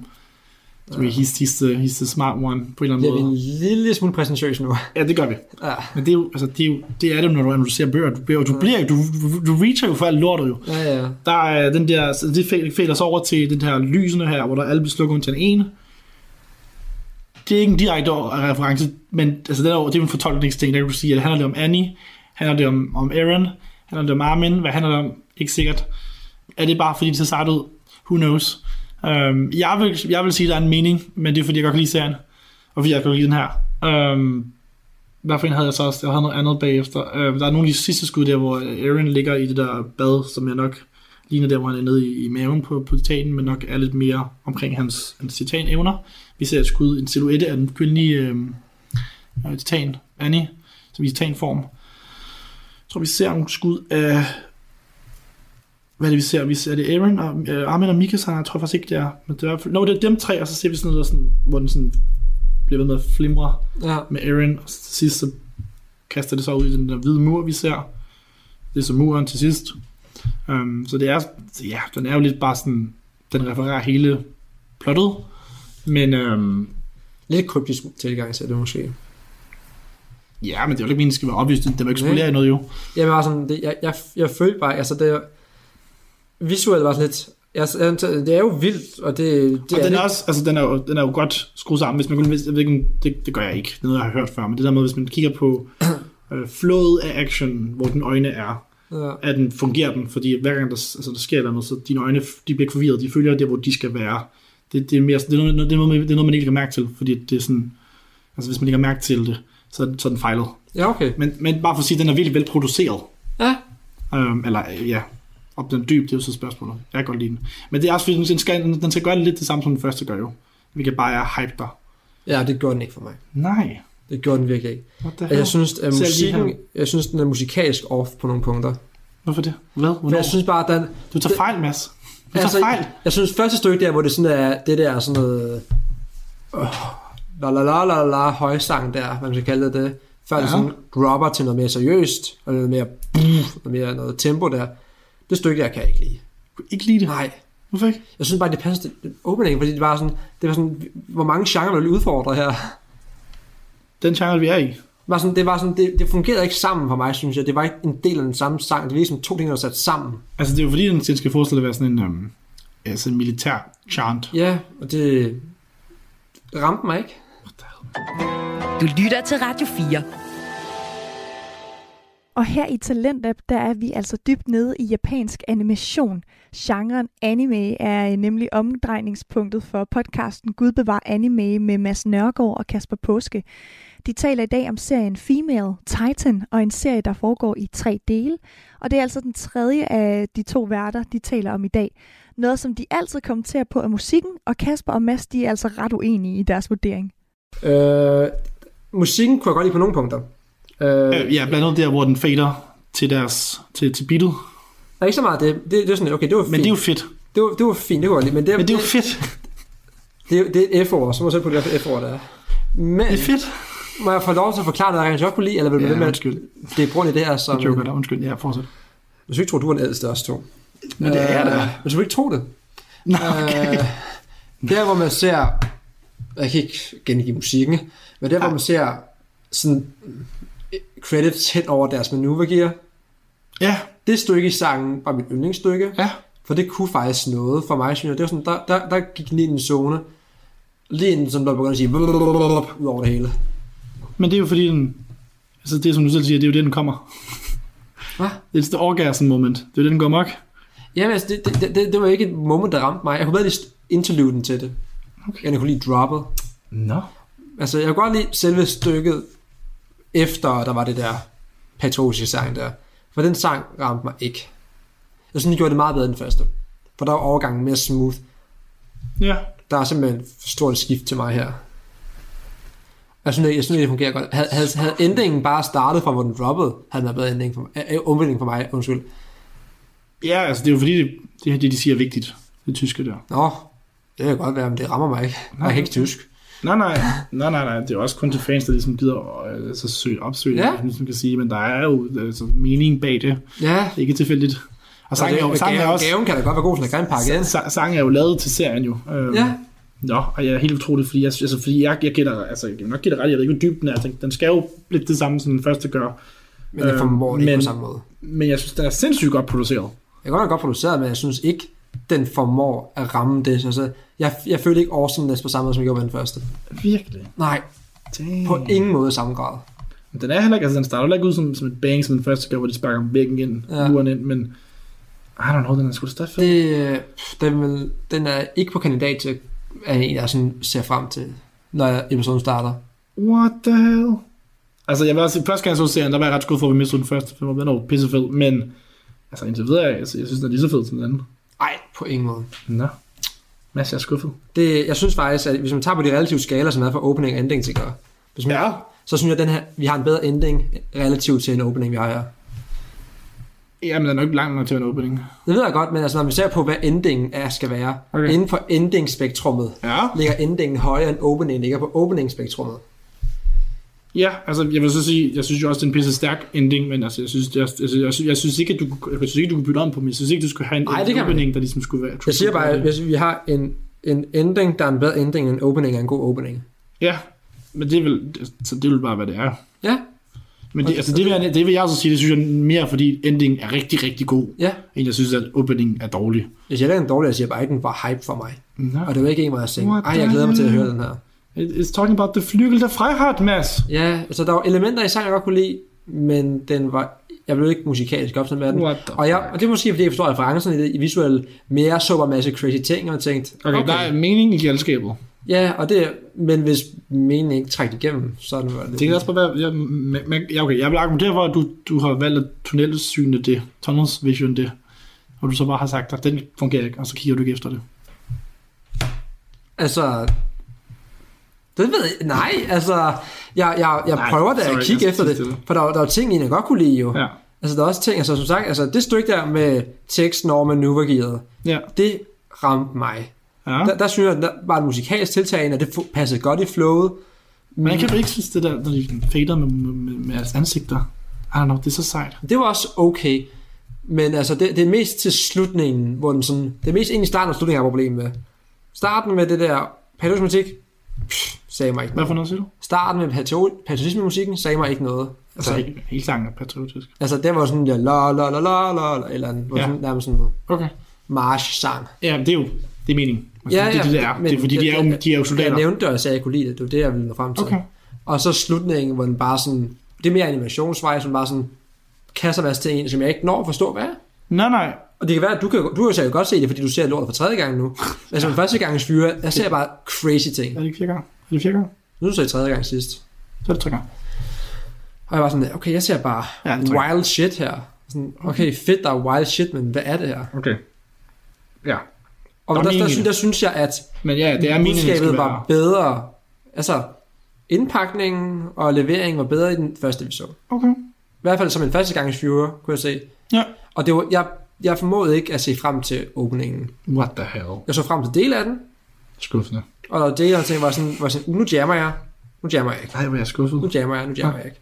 D: ja. he's, he's, the, he's the smart one på en eller
E: bliver vi
D: anden
E: en
D: måde.
E: lille smule præsentøs nu.
D: Ja, det gør vi.
E: Ja,
D: Men det er jo, altså, det er jo, det er det jo, når du analyserer bøger. Du, bliver, du, bliver, du, du, du reacher jo for alt lortet jo.
E: ja, ja.
D: Der er den der, så det fæ- fælder sig over til den her lysende her, hvor der alle bliver slukket til en ene. Det er ikke en direkte reference, men altså, det, er jo, det er jo en fortolkningsting, der kan du sige, at det handler det om Annie, handler det om, om Aaron, handler det om Armin, hvad handler det om? Ikke sikkert. Er det bare fordi, det ser sejt ud? Who knows? Um, jeg, vil, jeg vil sige, at der er en mening, men det er fordi, jeg godt kan lide serien, og fordi jeg kan lide den her. Um, hvad for en havde jeg så også? Jeg havde noget andet bagefter. Uh, der er nogle af de sidste skud der, hvor Aaron ligger i det der bad, som jeg nok ligner der, hvor han er nede i, i maven på, på titanen, men nok er lidt mere omkring hans, hans titanevner. Vi ser et skud, en silhuette af den kvindelige øh, øh, titan, Annie, som i titanform. Jeg tror, vi ser nogle skud af... Hvad er det, vi ser? Vi ser er det Aaron og øh, Armin og Mikasan, jeg tror faktisk ikke, det er. Men det er i hvert fald- Nå, det er dem tre, og så ser vi sådan noget, der sådan, hvor den sådan bliver ved med at flimre
E: Ja.
D: med Aaron, og til sidst så kaster det så ud i den der hvide mur, vi ser. Det er så muren til sidst. Um, så det er, så ja, den er jo lidt bare sådan, den refererer hele plottet, men øhm,
E: Lidt kryptisk tilgang til det måske.
D: ja, men det er jo ikke meningen, det skal være oplyst, det var ikke
E: Nej.
D: spolere i noget jo.
E: Jeg var sådan, det, jeg, jeg, jeg følte bare, altså det visuelt var sådan lidt, altså, det er jo vildt, og det, det
D: Det og den
E: det.
D: er, også, altså, den, er jo, den er jo godt skruet sammen, hvis man kun hvis, jeg ved ikke, om- det, det gør jeg ikke, det er noget, jeg har hørt før, men det der med, hvis man kigger på øh, flowet af action, hvor den øjne er,
E: Ja.
D: at den fungerer den, fordi hver gang der, s- altså, der sker et eller andet, så dine øjne, de bliver ikke forvirret, de følger det, hvor de skal være. Det, det, er, mere, sådan- det, er, noget, det, er noget, man- det er noget, man ikke kan mærke til, fordi det er sådan, altså hvis man ikke har mærke til det, så er den, så er den fejlet.
E: ja, okay.
D: Men, men bare for at sige, at den er virkelig velproduceret.
E: Ja,
D: Øhm, eller øh, ja, om den er dyb, det er jo så spørgsmålet. Jeg kan godt lide den. Men det er også fordi, den skal, den skal gøre lidt det samme, som den første gør jo. Vi kan bare er hype der.
E: ja det gjorde den ikke for mig.
D: Nej,
E: Det gjorde den virkelig ikke.
D: what the
E: Altså,
D: hell?
E: jeg synes, at
D: Selv lige her.
E: musikken, jeg synes, den er musikalsk off på nogle punkter.
D: Hvorfor det? Hvad?
E: Men
D: Hvornår?
E: jeg synes bare, at den...
D: Du tager fejl, Mads. Du tager fejl.
E: Altså, Jeg synes første stykke der, hvor det sådan er, det der er sådan noget... Øh, la la la la la højsang der, hvad man skal kalde det det. Før ja.
D: Ja.
E: det sådan dropper til noget mere seriøst, og noget mere, noget mere noget tempo der. Det stykke der kan jeg ikke lide.
D: Du kan ikke lide det.
E: Nej,
D: Hvorfor ikke?
E: jeg synes bare, det passer til den opening, fordi det var sådan, det var sådan, hvor mange genrer blev udfordret her.
D: Den genre, vi er i.
E: Det Var sådan, det, var sådan, det, det fungerede ikke sammen for mig, synes jeg. Det var ikke en del af den samme sang. Det var ligesom to ting, der var sat sammen.
D: Altså, det er jo fordi, den skal forestille at være sådan en, øhm, altså en militær chant.
E: Ja, og det ramte mig ikke.
B: Du lytter til Radio 4.
C: Og her i Talentlab, der er vi altså dybt nede i japansk animation. Genren anime er øh, nemlig omdrejningspunktet for podcasten Gud bevar anime med Mads Nørgaard og Kasper Påske. De taler i dag om serien Female Titan og en serie, der foregår i tre dele. Og det er altså den tredje af de to værter, de taler om i dag. Noget, som de altid kommenterer på er musikken, og Kasper og Mads, de er altså ret uenige i deres vurdering.
E: Øh, musikken kunne jeg godt lide på nogle punkter. Øh,
D: Øh, ja, blandt andet der, hvor den fader til deres, til, til beatet.
E: Der er ikke så meget af det. Det, det er sådan, lidt, okay, det var fint.
D: Men det er jo fedt.
E: det, var, det var fint, det kunne jeg godt lide. Men det,
D: Men det er jo fedt.
E: det, det, det er et F-ord, så må jeg selv på det, hvad for F-ord det er. Men
D: Det er fedt.
E: må jeg få lov til at forklare noget, jeg rent godt kunne lide, eller vil du ja,
D: Ja,
E: ved med, at
D: undskyld.
E: det er grund i det her, som...
D: Jeg joker dig, undskyld. Ja, fortsæt.
E: Hvis du ikke tror, du er den ældste af os to.
D: Men det er jeg da.
E: Hvis du ikke tror det.
D: Nå,
E: Okay. Øh, der hvor man ser, jeg kan ikke gengive musikken, men der hvor man ser sådan øh, credits hen over deres manøvregear,
D: Ja,
E: det stykke i sangen var mit yndlingsstykke,
D: ja.
E: for det kunne faktisk noget for mig, synes jeg. Det var sådan, der, der, der gik den ind i en zone, lige inden som der begyndte at sige ud over det hele.
D: Men det er jo fordi, den, altså det er som du selv siger, det er jo det, den kommer.
E: Hvad?
D: It's the orgasm moment. Det er jo det, den går mok.
E: Jamen altså, det, det, det, det var ikke et moment, der ramte mig. Jeg kunne bedre lige interlude den til det, okay. end jeg kunne lige droppet.
D: Nå.
E: Altså, jeg kunne godt lide selve stykket, efter der var det der patosiske sang der. For den sang ramte mig ikke. Jeg synes, de gjorde det meget bedre end den første. For der var overgangen mere smooth.
D: Ja.
E: Der er simpelthen et stort skift til mig her. Jeg synes, ikke- jeg synes ikke, det fungerer godt. Havde, havde, havde endingen bare startet fra, hvor den droppede, havde den været bedre ending for mig. Æ, omvending for mig, undskyld.
D: Ja, altså det er jo fordi, det, det her, det de siger er vigtigt. Det tyske der.
E: Nå, det kan godt være, men det rammer mig ikke. Jeg er ikke tysk.
D: Nej, nej, nej, nej, nej. Det er også kun til fans, der ligesom gider øh, altså, søge opsøge,
E: Ja.
D: ja. ligesom kan sige, men der er jo altså, mening bag det.
E: Ja,
D: Det er ikke tilfældigt. Og sangen er, jo, sangen er
E: gaven,
D: også...
E: gaven kan da godt være god, sådan en grim pakke. ind.
D: sa- Sangen er jo lavet til serien jo. Øhm,
E: Ja.
D: Nå, og jeg er helt utrolig, fordi jeg, altså, fordi jeg, jeg gætter, altså, jeg vil nok gætter ret, jeg ved ikke, hvor dyb den er. Altså, Den, den skal jo lidt det samme, som den første gør.
E: Men jeg
D: Øhm,
E: formår det ikke på
D: men-
E: samme måde.
D: Men jeg synes, den er sindssygt godt produceret.
E: Jeg er godt nok godt produceret, men jeg synes ikke, den formår at ramme det. Så så jeg, jeg følte ikke awesomeness på samme måde, som jeg gjorde med den første.
D: Virkelig.
E: Nej, på
D: Damn.
E: ingen måde i samme grad.
D: Den er heller ikke, altså den starter heller ikke ud som, som et bang, som den første gør, hvor de sparker væggen ind,
E: Ja.
D: ja. muren ind, men I don't know, den er sgu da stadig fed.
E: Det, øh, den, vil, den er ikke på kandidat til, at en, jeg sådan ser frem til, når episoden starter.
D: What the hell? Altså, jeg vil også sige, første gang jeg så serien, der var jeg ret skuffet for, at vi mistede den første, for den var jo pissefed, men altså indtil videre, altså, jeg synes, den er lige så fed som den anden.
E: Nej, på ingen måde.
D: Nå. Mads, jeg er skuffet.
E: Det, jeg synes faktisk, at hvis man tager på de relative skaler, som er fra opening og ending til at gøre, hvis man,
D: Ja.
E: så synes jeg, at den her, vi har en bedre ending relativt til en opening, vi har her.
D: Jamen, den er jo ikke langt nok til en åbning.
E: Det ved jeg godt, men altså, når vi ser på, hvad endingen er, skal være,
D: Okay.
E: okay. inden for endingspektrummet,
D: Ja.
E: ligger endingen højere end opening ligger på openingsspektrummet.
D: Ja, altså jeg vil så sige, jeg synes jo også, det er en pisse stærk ending, men altså, jeg synes, jeg, altså, jeg, synes, jeg synes ikke, at du, kunne- jeg synes ikke, du kunne bytte om på mig. Jeg synes ikke, du skulle have en,
E: Nej,
D: en
E: det kan man
D: opening, der ligesom skulle være...
E: Jeg siger bare, at hvis vi har en, en ending, der er en bedre ending end en opening, er en god opening.
D: Ja, men det vil, så det vil bare, hvad det er.
E: Ja,
D: Men det,
E: Okay,
D: altså, det, vil jeg, det vil jeg også sige, det synes jeg mere, fordi ending er rigtig, rigtig god,
E: ja.
D: end jeg synes, at opening er dårlig.
E: Jeg siger, at den er dårlig, jeg siger bare, at den var hype for mig.
D: Nå.
E: Og det var ikke en, hvor jeg tænkte,
D: What
E: ej, jeg glæder mig til at høre den her.
D: It's talking about the flygel der Freiheit, Mads.
E: Ja, altså der var elementer i sangen, jeg godt kunne lide, men den var, jeg blev ikke musikalsk optaget med den.
D: What the
E: Og, jeg, og det er måske, fordi jeg forstår referencerne i det i visuelle, men jeg så bare en masse crazy ting, og jeg tænkte,
D: Okay, okay, der er mening i galskabet.
E: Ja, og det, men hvis meningen ikke trækker igennem, så er det bare lidt...
D: Det kan også bare være, jeg, men- men- ja, okay, jeg vil argumentere for, at du, du har valgt at tunnelsyne det, tunnels vision det, og du så bare har sagt, at den fungerer ikke, og så kigger du ikke efter det.
E: Altså... Det ved jeg... Nej, altså... Jeg, jeg, jeg
D: Nej,
E: prøver da
D: sorry,
E: at kigge
D: jeg
E: efter
D: synes,
E: det,
D: det er det.
E: for der, var- der er jo ting, i den, jeg godt kunne lide jo.
D: Ja,
E: Altså, der er også ting, altså som sagt, altså det stykke der med tekst, norma, nuvergearet,
D: ja,
E: det ramte mig.
D: ja.
E: Der, der synes jeg, der var et musikalsk tiltag, ind, og det fu- passede godt i flowet.
D: Men jeg kan ikke synes, det der, når de fader med, med, med, med deres ansigter. I don't know, det er så sejt.
E: Det var også okay, men altså det, det er mest til slutningen, hvor den sådan, det er mest egentlig starten og slutningen, jeg har problemer med. Starten med det der patriotismusik, sagde mig ikke
D: Hvad
E: noget.
D: for noget siger du?
E: Starten med patio- patriotismemusikken, sagde mig ikke noget.
D: Altså,
E: Altså,
D: helt, helt sangen er patriotisk.
E: altså det var sådan der la la la la la, la eller en,
D: Ja.
E: ja. sådan, nærmest sådan en
D: Okay.
E: march-sang.
D: Ja, det er jo, det er meningen. Altså, det, er det, det er. det er fordi, de er, jo, de er jo soldater.
E: Jeg nævnte det, og sagde, at jeg kunne lide det. Det var det, jeg ville nå frem til.
D: Okay.
E: Og så slutningen, hvor den bare sådan, det er mere animationsvej, som bare sådan kaster en masse ting ind, som jeg ikke når at forstå, hvad er.
D: Nej, nej.
E: Og det kan være, at du kan, du kan jo godt se det, fordi du ser lortet for tredje gang nu. Men som første gangs fyre, jeg ser bare crazy ting.
D: Er det ikke fire gange? Er det fire gange?
E: Nu så jeg tredje gang sidst.
D: Så er det tre gange.
E: Og jeg var sådan, okay, jeg ser bare
D: Ja,
E: ja,
D: det tror
E: wild shit her. Sådan, okay, fedt, der er wild shit, men hvad er det her?
D: Okay. Ja.
E: Og
D: Der er
E: der, der, der,
D: mening i
E: synes,
D: det.
E: der synes jeg, at
D: Men ja, det er meningen, det
E: budskabet
D: skal være.
E: var bedre. Altså, indpakningen og leveringen var bedre i den første, vi så.
D: Okay.
E: I hvert fald som en første gangs fyre, kunne jeg se.
D: Ja.
E: Og det var, jeg, jeg formåede ikke at se frem til åbningen.
D: What the hell?
E: Jeg så frem til del af den,
D: Skuffende.
E: Og det jeg tænkte var sådan, var sådan, "Uh, nu jammer jeg, nu jammer jeg ikke,
D: Nej, hvor er jeg skuffet.
E: nu jammer jeg, nu jammer jeg ikke.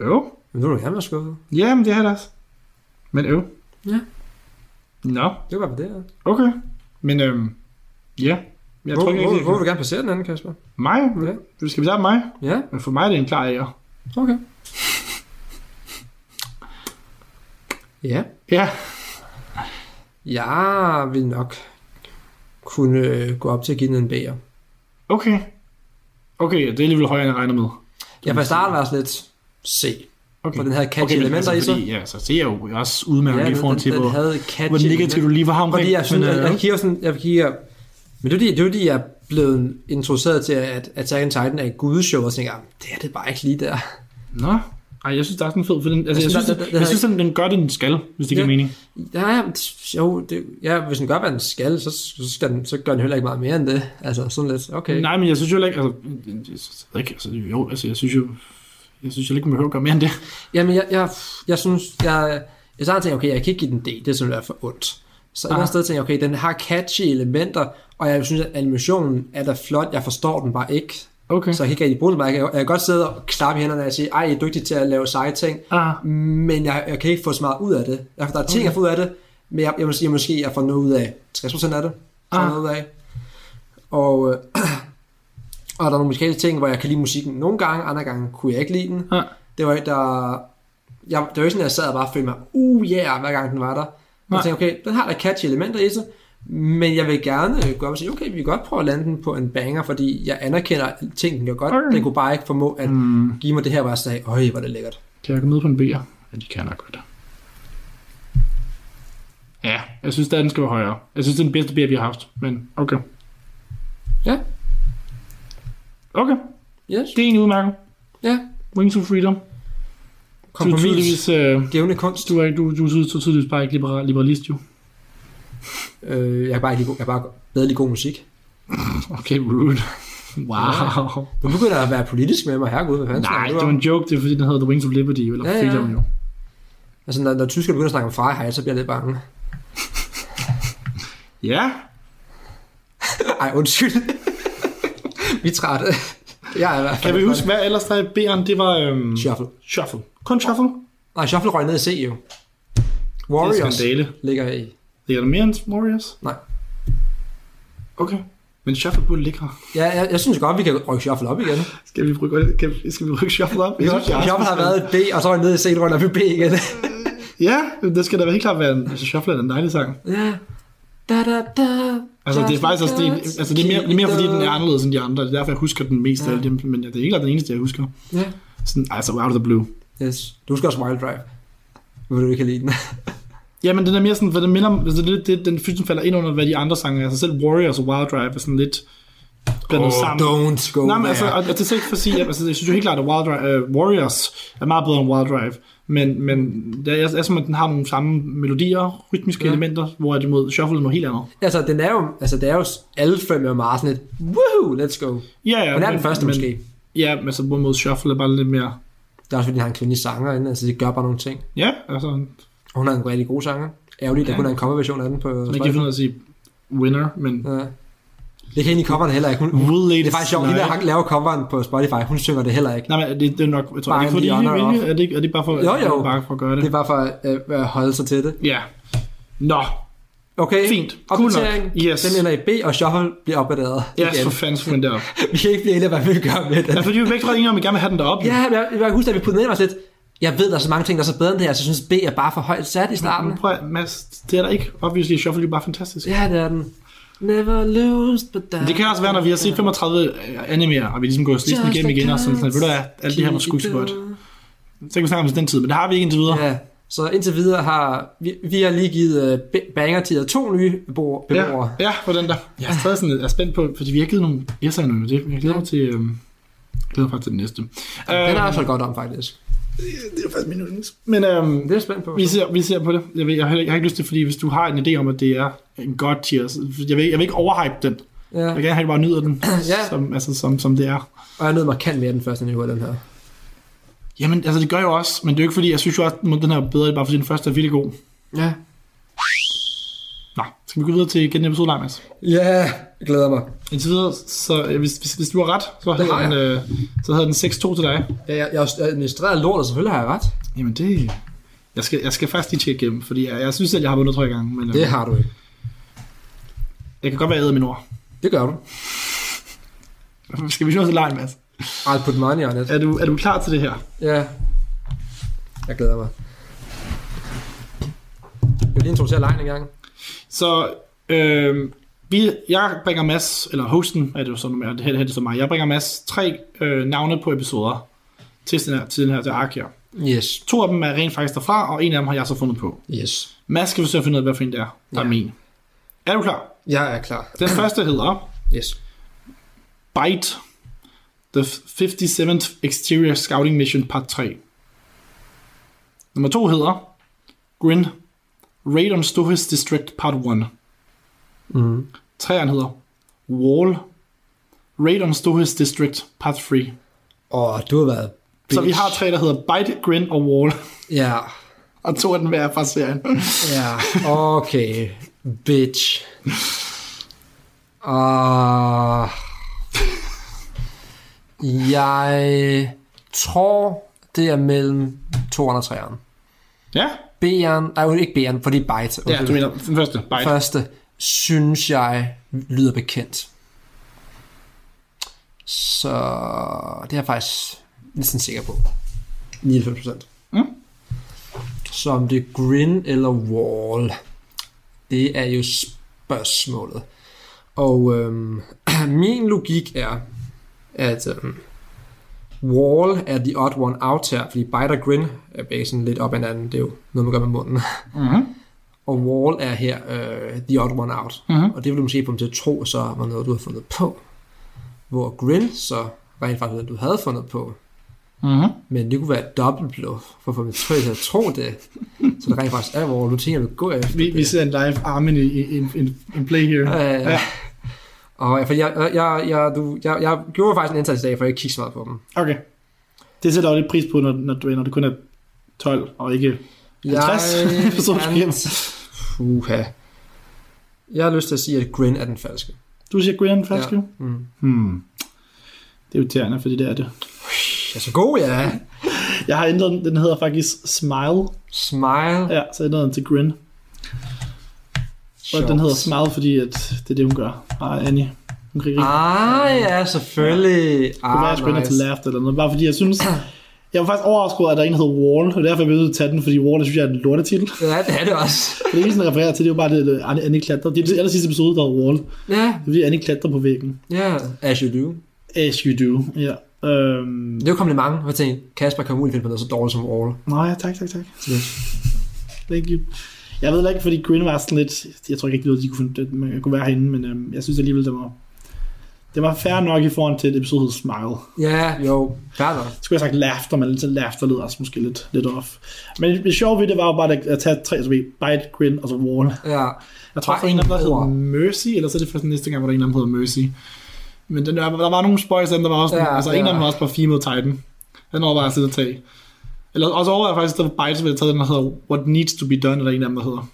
D: Øv.
E: Men nu er du gerne være skuffet.
D: Jamen, det er det også. Men øv.
E: Ja.
D: Nå,
E: Det var bare det her.
D: okay. Men øhm, ja. Jeg
E: Hvor,
D: tror ikke,
E: hvor,
D: det
E: hvor, vil du gerne placere den anden, Kasper?
D: Mig?
E: Ja.
D: Skal vi starte med mig?
E: Ja,
D: Men for mig er det en klar ære.
E: okay. Ja,
D: Ja.
E: jeg vil nok kunne øh, gå op til at give den en B'er.
D: Okay. Okay, ja, det er alligevel højere, end jeg regner med.
E: Jeg fra starten var sådan lidt C,
D: Okay.
E: for den havde catchy
D: men altså,
E: elementer i sig.
D: fordi, Ja, så det er jo også udmærket ja, i forhold
E: den,
D: til,
E: den,
D: hvor,
E: den havde catchy
D: hvor negativ du lige var omkring.
E: Fordi jeg synes,
D: men,
E: at
D: øh,
E: jeg kigger sådan, jeg kigger, men det er fordi, det er fordi, jeg er blevet introduceret til, at Attack on Titan er et gudeshow, og så tænker, jeg, det er det bare ikke lige der.
D: Nå, ej, jeg synes, der er sådan en fed, for den, altså, jeg,
E: synes,
D: synes,
E: der-
D: den-
E: der- der-
D: jeg
E: der-
D: synes, den, den gør det, den skal, hvis det giver
E: Ja.
D: mening.
E: Ja, ja, men det- jo, det, ja, hvis den gør, hvad den skal, så, så, skal den, så gør den heller ikke meget mere end det. Altså sådan lidt, okay.
D: Nej, men jeg synes jo heller ikke, altså, jeg synes ikke, altså, jo, altså, jeg synes jo, jeg synes jo ikke, man behøver at gøre mere end det.
E: Jamen, jeg, jeg, jeg synes, jeg, jeg startede tænkte, okay, jeg kan ikke give den D, det er simpelthen for ondt. Så et
D: Aha.
E: andet sted tænkte jeg, okay, den har catchy elementer, og jeg synes, at animationen er da flot, jeg forstår den bare ikke.
D: Okay.
E: Så jeg kan ikke rigtig bruge den, bare. jeg kan, jeg kan godt sidde og klappe i hænderne og sige, ej, I er dygtig til at lave seje ting,
D: Ah,
E: men jeg, jeg kan ikke få så meget ud af det. Jeg, der er ting, okay. jeg får ud af det, men jeg, jeg må sige, at måske jeg får noget ud af 60% af det. Får
D: Ah.
E: ah. noget ud af. Og, øh, og der er nogle musikalske ting, hvor jeg kan lide musikken nogle gange, andre gange kunne jeg ikke lide den.
D: Ah.
E: Det var ikke, der... Jeg, det var ikke sådan, at jeg sad og bare følte mig, uh yeah, hver gang den var der. Og
D: Nej.
E: jeg tænkte, okay, den har da catchy elementer i sig, men jeg vil gerne gå op og sige, okay, vi kan godt prøve at lande den på en banger, fordi jeg anerkender at ting, den gør godt.
D: Okay.
E: Okay. Den kunne bare ikke formå at
D: mm,
E: give mig det her, hvor jeg sagde, øj, hvor er det lækkert.
D: kan jeg komme med på en B'er? Ja, de kan nok godt. Ja, jeg synes, at den skal være højere. Jeg synes, det er den bedste B'er, vi har haft, men okay.
E: Ja.
D: Okay,
E: Yes.
D: det er en udmærket.
E: Ja,
D: Wings of Freedom. Du, er
E: kompromis,
D: tydeligvis, øh,
E: gævne kunst.
D: du, er, ikke- du, du, du, du er tydeligvis bare ikke liberal, liberalist, jo.
E: Øh, jeg kan bare, ikke, lide- jeg kan bare bedre lide god musik.
D: Okay, rude. Wow.
E: Nu begynder jeg at være politisk med mig, herregud, hvad fanden
D: Nej,
E: snakker
D: det
E: du
D: var
E: om?
D: en joke. Det er fordi, den hedder The Wings of Liberty, eller
E: Ja, ja.
D: Freedom, jo.
E: Altså, når, når tyskerne begynder at snakke om Fahrenheit, så bliver jeg lidt bange.
D: Ja,
E: Ej, undskyld. vi er trætte. Jeg er i hvert fald
D: kan vi huske, hvad ellers der er i B'eren? Det var øhm,
E: Shuffle.
D: Shuffle. Kun Shuffle.
E: Nej, Shuffle røg ned i C jo.
D: Det er en
E: Warriors
D: skandale.
E: ligger i.
D: Ligger der mere end Warriors?
E: Nej.
D: Okay. Men Shuffle burde ligge her.
E: Ja, jeg, jeg synes godt, vi kan rykke Shuffle op igen.
D: Skal vi rykke, kan, vi- skal vi rykke Shuffle op? Jeg synes, jeg
E: Shuffle har været i B, og så var jeg nede i C, og røg op i B igen.
D: Ja, det skal da helt klart være en... Altså, Shuffle er en dejlig sang.
E: ja. Da, da, da.
D: Altså, det er faktisk også... Det, er- altså, det er mere, det er mere fordi, den er anderledes end de andre. Det er derfor, jeg husker den mest af alle dem. Men det er ikke klart den eneste, jeg husker.
E: Ja.
D: Sådan, altså, out of the blue.
E: Yes. Du husker også Wild Drive. Hvor du ikke kan lide den.
D: Ja, men den er mere sådan, hvad det minder om, altså det, er lidt det, den synes, den falder ind under, hvad de andre sange er. Altså selv Warriors og Wild Drive er sådan lidt blandet oh, sammen.
E: Don't go
D: Nej, men altså,
E: there.
D: og, og det er slet ikke for at sige, at, altså, jeg synes jo helt klart, at Wild Drive, uh, Warriors er meget bedre end Wild Drive, men, men det er, er som, at den har nogle samme melodier, rytmiske ja. elementer, hvor de mod Shuffle er noget helt andet.
E: Altså, den er jo, altså, det er jo s- alle fem er meget sådan et, woohoo, let's go.
D: Ja, ja,
E: Men det er den første
D: men,
E: måske.
D: Ja, men altså, mod Shuffle er bare lidt mere,
E: Det er også fordi, han har en kvindelig sanger inde, altså det gør bare nogle ting.
D: ja, altså,
E: Og hun er en rigtig god sanger. Ærgerligt, der kun er en coverversion af den på
D: man kan ikke finde ud af at sige winner, men
E: Ja. Det kan egentlig coveren heller ikke. Hun, hun,
D: Will
E: det er faktisk sjovt, hende der har- laver coveren på Spotify, hun synger det heller ikke.
D: Nej, men det, det er nok, jeg tror,
E: Bare
D: er det
E: en
D: fordi,
E: lige under
D: de
E: off.
D: er, det, ikke- er det bare for,
E: Jo, jo.
D: er det bare for at gøre
E: Det er bare for at øh, at holde sig til det.
D: Ja. Nå.
E: Okay,
D: Fint. Cool nok.
E: Opdatering.
D: Yes.
E: Den ender i B, og Shuffle bliver opdateret
D: Ja,
E: igen.
D: for fanden skulle den derop.
E: Vi kan ikke blive enige, om, hvad vi vil gøre med den.
D: Altså, fordi vi er begge ret enige om, at vi gerne vil have den derop.
E: Ja, men jeg, jeg kan huske, at vi puttede ned og var sådan lidt, jeg ved, der er så mange ting, der er så bedre end det her, så jeg synes, B er bare for højt sat i starten.
D: Men prøv at, Mads, det er der ikke. Obviously, Shuffle er bare fantastisk.
E: Ja, det er den. Never lose, but that...
D: Det kan også være, når vi har set 35 animer, og vi ligesom går listen
E: Just
D: igennem
E: like
D: igen, og sådan,
E: cats.
D: sådan, ved du hvad, alt det her var sgu så godt. Så kan vi snakke om det den tid, men det har vi ikke indtil videre.
E: Ja, så indtil videre har... Vi, vi har lige givet uh, banger til to nye beboere.
D: Ja,
E: beboere.
D: ja, for den der. Jeg er stadig sådan lidt jeg er spændt på, fordi vi har givet nogle yes'er nu. Det, jeg glæder mig til, øhm, jeg glæder mig faktisk til den næste.
E: Ja. Den er
D: Øhm,
E: også godt om, faktisk.
D: det er faktisk min yndlings. Men øhm,
E: Det er jeg spændt på.
D: Vi ser, vi ser på det. Jeg, ved, jeg, har, heller- jeg har ikke lyst til, fordi hvis du har en idé om, at det er en god tier, så jeg vil, jeg vil ikke overhype den.
E: Ja.
D: Jeg vil gerne have, at du bare nyder den,
E: Ja.
D: som, altså, som, som det er.
E: Og jeg nød markant mere den første niveau af den her.
D: Jamen, altså det gør jeg jo også, men det er jo ikke fordi, jeg synes jo også, at den her er bedre, bare fordi den første er vildt god.
E: Ja.
D: Nå, skal vi gå videre til igen episode, nej, Mads?
E: Ja, jeg glæder mig.
D: Indtil videre, så øh, hvis, hvis, hvis du har ret, så
E: Det
D: hedder
E: har
D: den, øh, så hedder den 6-2 til dig.
E: Ja, jeg, jeg, jeg administrerer lort, og selvfølgelig har jeg ret.
D: Jamen det... Jeg skal, jeg skal faktisk lige tjekke igennem, fordi jeg, jeg synes, at jeg har vundet tre gange, men øh,
E: Det har du ikke.
D: jeg kan godt være æder mine ord.
E: Det gør du.
D: Skal vi se noget til lejen, Mads?
E: I'll put money on it.
D: Er du, er du klar til det her?
E: Ja. Jeg glæder mig. Jeg vil lige introducere lejen en gang.
D: Så øh, vi, jeg bringer Mads, eller hosten er det jo så, normalt, det her, det her er det så mig, jeg bringer Mads tre øh, navne på episoder til den her, til den her til Ark her.
E: Yes.
D: To af dem er rent faktisk derfra, og en af dem har jeg så fundet på.
E: Yes.
D: Mads skal forsøge at finde ud af, hvad for en det er, der ja. er
E: Ja.
D: min. Er du klar?
E: Jeg er klar.
D: Den første hedder
E: Yes.
D: Bite, The 57th Exterior Scouting Mission Part 3. Nummer to hedder Grin, Raid on Stohis District Part 1.
E: Mm.
D: Træerne hedder Wall, Raid on Stohis District, part 3.
E: Og du har været...
D: Så
E: Bitch.
D: vi har tre, der hedder Bite, Grin og Wall.
E: Ja.
D: Og to af den hver fra serien.
E: Ja. Okay. Bitch. Og... Jeg tror, det er mellem 2 og 3'eren.
D: ja,
E: B'eren... Nej, ikke B'eren, fordi Byte.
D: ja, du mener den første, Bite.
E: første, synes jeg, lyder bekendt. Så det er jeg faktisk næsten sikker på. 99 procent.
D: Mm.
E: Så om det er Grin eller Wall, det er jo spørgsmålet. Og øhm, min logik er, at øhm, Wall er the odd one out her, fordi Bite og Grin er begge sådan lidt op ad hinanden. Det er jo noget, man gør med munden.
D: Mm-hmm.
E: Og Wall er her øh, The Odd One Out.
D: Mhm.
E: Og det vil du måske få dem til at tro, så var noget, du havde fundet på. Hvor Grin så rent faktisk noget, du havde fundet på.
D: Mm-hmm.
E: Men det kunne være et dobbelt bluff, for at få dem til at tro det. Så det rent faktisk er, hvor du tænker, at du går efter
D: Vi,
E: det.
D: vi ser en live armen i i- en, en, en play her.
E: Øh,
D: Ja.
E: ja. Og for jeg, jeg, jeg, du, jeg, jeg gjorde faktisk en indsats i dag, for jeg ikke kiggede så meget på dem.
D: Okay. Det sætter jeg jo lidt pris på, når, når, du, når det kun er 12 og ikke
E: Jeg
D: 50 personer
E: Uha. Jeg har lyst til at sige, at Grin er den falske.
D: Du siger Grand Fasco? Ja.
E: Mm.
D: Hmm. Det er irriterende, fordi det er det.
E: Ja, så god, ja.
D: Jeg har ændret den, den hedder faktisk Smile.
E: Smile.
D: Ja, så ændrede den til Grin. Og
E: Sjovt.
D: den hedder Smile, fordi at det er det, hun gør. Bare Annie. Hun kan ikke rigtig-
E: Ah, ja, selvfølgelig.
D: det kunne være,
E: Ah,
D: at jeg skulle ændre til
E: nice.
D: Laughed eller noget. Bare fordi jeg synes... Jeg var faktisk overrasket over, at der er en, der hedder Wall, og derfor er jeg nødt til at tage den, fordi Wall, det synes jeg er en lortetitel.
E: Ja, det er det også.
D: Det eneste, den refererer til, det er jo bare det, at Annie- Annie klatrer. Det er den aller sidste episode, der hedder Wall.
E: Ja,
D: Det er fordi, Annie klatrer på væggen.
E: ja. As you do.
D: As you do. Ja. Øhm,
E: Det er jo kompliment. Jeg tænkte, Kasper kan muligt finde på noget så dårligt som Aarhus.
D: Nå ja, tak, tak, tak. Thank you. Jeg ved heller ikke, fordi Green var sådan lidt... Jeg tror ikke, rigtig, at de kunne, finde, at man kunne være herinde, men øhm, jeg synes alligevel, det var... Det var fair nok i forhold til et episode, der hed Smile.
E: Ja, jo. Færdig.
D: Så skulle jeg have sagt laughter, men lidt laughter lyder også måske lidt, lidt off. Men det sjove ved det var jo bare at, at tage tre, så vi Bite, Grin og så Wall.
E: Ja.
D: Jeg tror,
E: Bare
D: der er en af dem, der
E: ingen
D: hedder
E: ord.
D: Mercy, eller så er det først næste gang, hvor der er en af dem, der hedder Mercy. Men den, der, der var nogle spøjs, af dem, der var også...
E: Ja,
D: Ja, altså, en
E: ja.
D: af dem var også på Female Titan. Den overvejer jeg at tage. Eller også overvejer jeg faktisk, at der var Bites, ville jeg tage den, der hedder What Needs to be Done, eller en af dem, der hedder.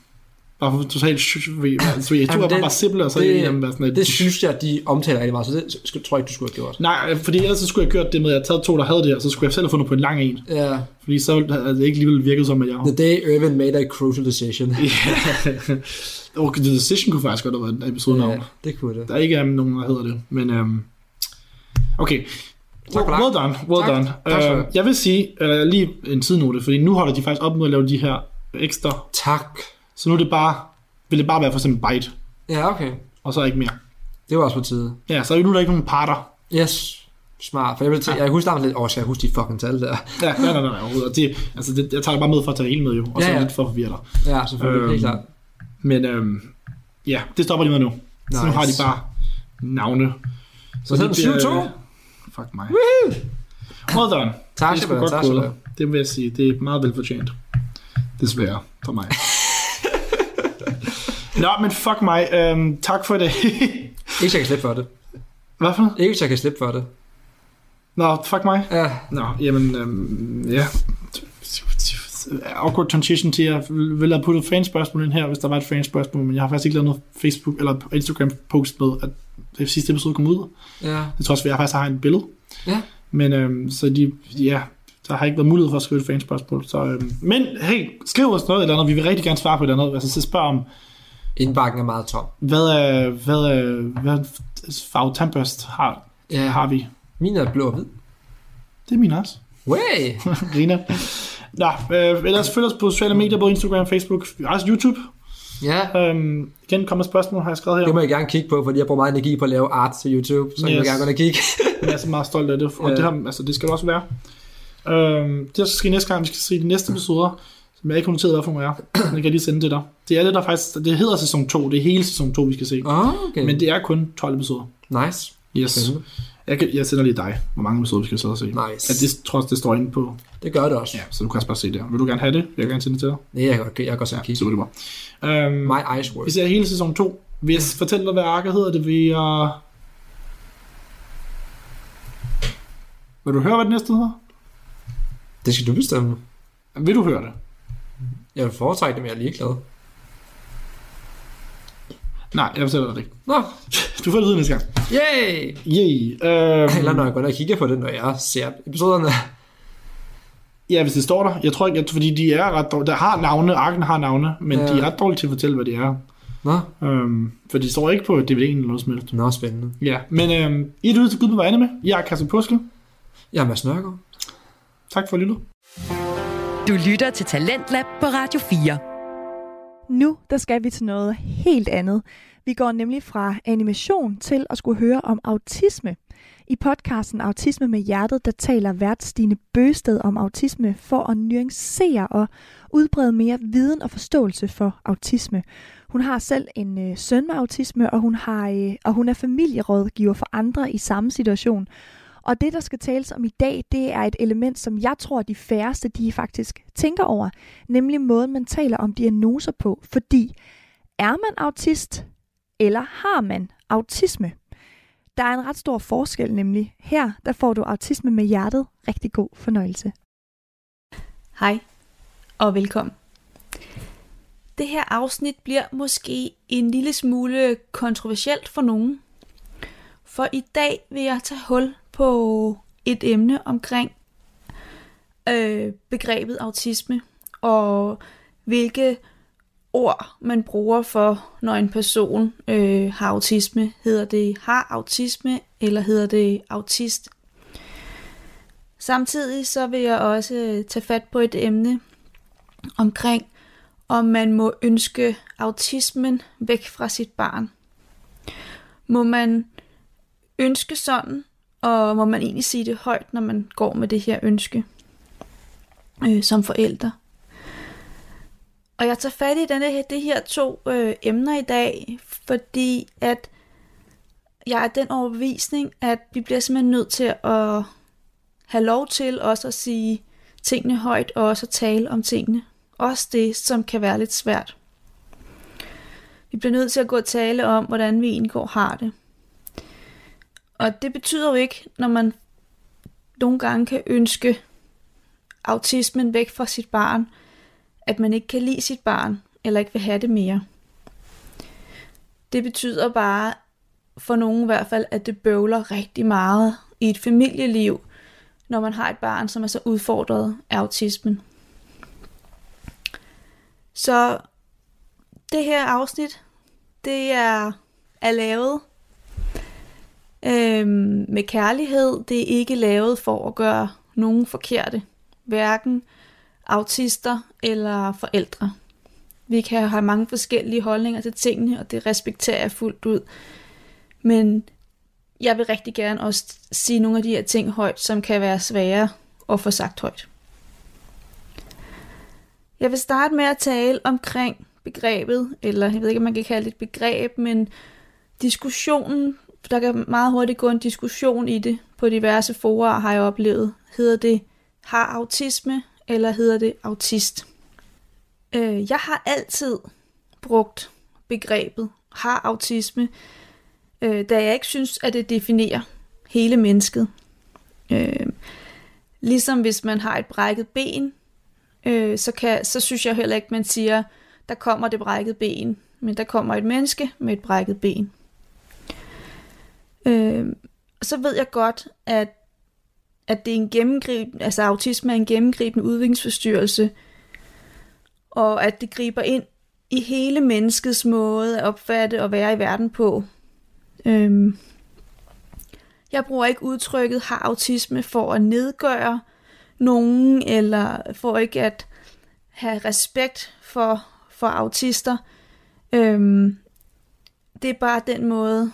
D: Bare for totalt... Så altså, jeg tror,
E: Jamen,
D: jeg var
E: det-
D: bare simple, og så
E: det-
D: en af dem var sådan et...
E: Det synes jeg, de omtaler rigtig meget, så det sk- tror jeg ikke, du skulle have gjort.
D: Nej, fordi ellers så skulle jeg have gjort det med, at jeg havde taget to, der havde det her, så skulle jeg selv have fundet på en lang en.
E: Ja.
D: Fordi så havde det ikke alligevel virket som, at jeg...
E: The day Irvin made a crucial decision.
D: Og The Decision kunne faktisk godt have været en episode navn.
E: Ja, det kunne det.
D: Der er ikke um, nogen, der hedder det, men... Um, okay.
E: Tak for
D: well, well done, well
E: Tak.
D: done.
E: Tak skal du
D: Øh,
E: have.
D: jeg vil sige, eller lige en tidnote, fordi nu holder de faktisk op med at lave de her ekstra,
E: Tak.
D: så nu er det bare, vil det bare være for eksempel bite,
E: Ja, okay.
D: og så ikke mere.
E: Det var også på tide.
D: Ja, så er nu er der ikke nogen parter.
E: Yes. Smart. For jeg, blev til, jeg husker lidt, åh, skal jeg huske de fucking tal der?
D: Ja, nej, nej, nej, overhovedet. Og det, altså, det, jeg tager det bare med for at tage det hele med jo, og
E: Ja,
D: så
E: ja.
D: lidt for at forvirre dig.
E: Ja, selvfølgelig. Øhm,
D: Øhm,
E: helt klart.
D: Men øhm, ja, det stopper de med nu. Nice. Så nu
E: Nice.
D: har de bare navne.
E: Så
D: det bliver-
E: hedder den
D: Fuck mig. Well done.
E: Tak
D: Det er
E: skal
D: sgu
E: du have.
D: godt
E: Tak skal du
D: gået.
E: have.
D: Det vil jeg sige, det er meget velfortjent. Desværre for mig. Nå, men fuck mig. Øhm, tak for det.
E: Ikke så jeg kan slippe for det.
D: Hvad for noget?
E: Ikke så jeg kan slippe for det.
D: Nå, fuck mig.
E: Ja,
D: Nå, jamen, øhm, ja. Awkward transition til, at jeg ville have puttet fanspørgsmål ind her, hvis der var et fanspørgsmål, men jeg har faktisk ikke lavet noget Facebook eller Instagram post med, at det sidste episode kom ud.
E: ja.
D: Det tror også, at jeg faktisk har en billede.
E: Ja.
D: Men øhm, så de, ja, der har ikke været mulighed for at skrive et fanspørgsmål. Så, øhm, men hey, skriv os noget eller andet. Vi vil rigtig gerne svare på et eller andet. Altså, så spørg om,
E: Indbakken er meget tom.
D: hvad, øh, hvad, øh, hvad farve tandbørst har,
E: Ja,
D: har vi?
E: min er blå og hvid.
D: Det er min også.
E: Way!
D: Griner. Nå, øh, ellers følg os på sociale medier, både Instagram, Facebook, også YouTube.
E: Ja,
D: Øhm, igen, kommer spørgsmål, har jeg skrevet her.
E: det må jeg gerne kigge på, fordi jeg bruger meget energi på at lave art til YouTube, så yes. jeg
D: Yes.
E: vil gerne gå ind og kigge.
D: Men jeg er så meget stolt af det, og
E: Ja.
D: det, har, altså, det skal det også være. Øhm, det, der skal ske næste gang, vi skal se de næste episoder, som jeg ikke har noteret, hvad for nogle er. Men jeg kan lige sende det der. Det er det, der faktisk, det hedder sæson 2, det er hele sæson 2, vi skal se.
E: Åh, okay.
D: Men det er kun 12 episoder.
E: Nice.
D: Yes.
E: Spændende.
D: Jeg, kan, jeg sender lige dig, hvor mange episoder vi skal sidde og se.
E: Mhm. Nice.
D: Ja, det tror jeg, det står inde på.
E: Det gør det også.
D: Ja, så du kan også bare se det. Vil du gerne have det? Jeg kan gerne sende det til dig.
E: Det er jeg godt, jeg kan godt selv kigge.
D: Super, det er bra. Øhm,
E: My eyes work.
D: vi ser hele sæson 2. Vil jeg fortælle dig, hvad arket hedder? Det vil jeg... Vil du høre, hvad det næste hedder?
E: Det skal du bestemme.
D: Vil du høre det?
E: Jeg vil foretrække det, men jeg er ligeglad.
D: Nej, jeg fortæller dig det ikke.
E: Nå,
D: Du får det vide næste gang.
E: yay!
D: Yay. Øhm,
E: Eller når jeg går ind og kigger på det, når jeg ser episoderne.
D: Ja, hvis det står der. Jeg tror ikke, at, fordi de er ret dårlige. Der har navne, Arken har navne, men
E: Ja.
D: ja. de er ret dårlige til at fortælle, hvad de er.
E: Nå,
D: Øhm, for de står ikke på DVD'en eller noget som helst.
E: nå spændende.
D: Ja, men øhm, I er ude til Gud på vegne med. Jeg er Kasper Påske.
E: Jeg er Mads Nørgaard.
D: Tak for at lytte.
B: Du lytter til Talentlab på Radio 4.
C: Nu der skal vi til noget helt andet. Vi går nemlig fra animation til at skulle høre om autisme. I podcasten Autisme med Hjertet, der taler vært Stine Bøsted om autisme for at nuancere og udbrede mere viden og forståelse for autisme. Hun har selv en øh, søn med autisme, og hun, har, øh, og hun er familierådgiver for andre i samme situation. Og det, der skal tales om i dag, det er et element, som jeg tror, de færreste de faktisk tænker over, nemlig måden, man taler om diagnoser på. Fordi er man autist, eller har man autisme? Der er en ret stor forskel nemlig. Her, der får du autisme med hjertet. Rigtig god fornøjelse.
F: Hej, og velkommen. Det her afsnit bliver måske en lille smule kontroversielt for nogen. For i dag vil jeg tage hul på et emne omkring øh, begrebet autisme og hvilke ord man bruger for, når en person øh, har autisme. Hedder det har autisme, eller hedder det autist? Samtidig så vil jeg også øh, tage fat på et emne omkring, om man må ønske autismen væk fra sit barn. Må man ønske sådan, og må man egentlig sige det højt, når man går med det her ønske øh, som forældre? Og jeg tager fat i denne her, det her to øh, emner i dag, fordi at jeg er den overbevisning, at vi bliver simpelthen nødt til at have lov til også at sige tingene højt og også at tale om tingene. Også det, som kan være lidt svært. Vi bliver nødt til at gå og tale om, hvordan vi egentlig går har det. Og det betyder jo ikke, når man nogle gange kan ønske autismen væk fra sit barn, at man ikke kan lide sit barn, eller ikke vil have det mere. Det betyder bare, for nogen i hvert fald, at det bøvler rigtig meget i et familieliv, når man har et barn, som er så udfordret af autismen. Så det her afsnit, det er, er lavet øhm, med kærlighed. Det er ikke lavet for at gøre nogen forkerte. Hverken autister eller forældre. Vi kan have mange forskellige holdninger til tingene, og det respekterer jeg fuldt ud. Men jeg vil rigtig gerne også sige nogle af de her ting højt, som kan være svære at få sagt højt. Jeg vil starte med at tale omkring begrebet, eller jeg ved ikke, om man kan kalde det et begreb, men diskussionen, for der kan meget hurtigt gå en diskussion i det på diverse forer, har jeg oplevet. Hedder det, har autisme, eller hedder det autist? Øh, jeg har altid brugt begrebet har autisme, øh, da jeg ikke synes, at det definerer hele mennesket. Øh, ligesom hvis man har et brækket ben, øh, så, kan, så synes jeg heller ikke, man siger, der kommer det brækket ben, men der kommer et menneske med et brækket ben. Øh, og så ved jeg godt, at at det er en gennemgribende, altså autisme er en gennemgribende udviklingsforstyrrelse, og at det griber ind i hele menneskets måde at opfatte og være i verden på. Øhm, jeg bruger ikke udtrykket har autisme for at nedgøre nogen, eller for ikke at have respekt for, for autister. Øhm, det er bare den måde,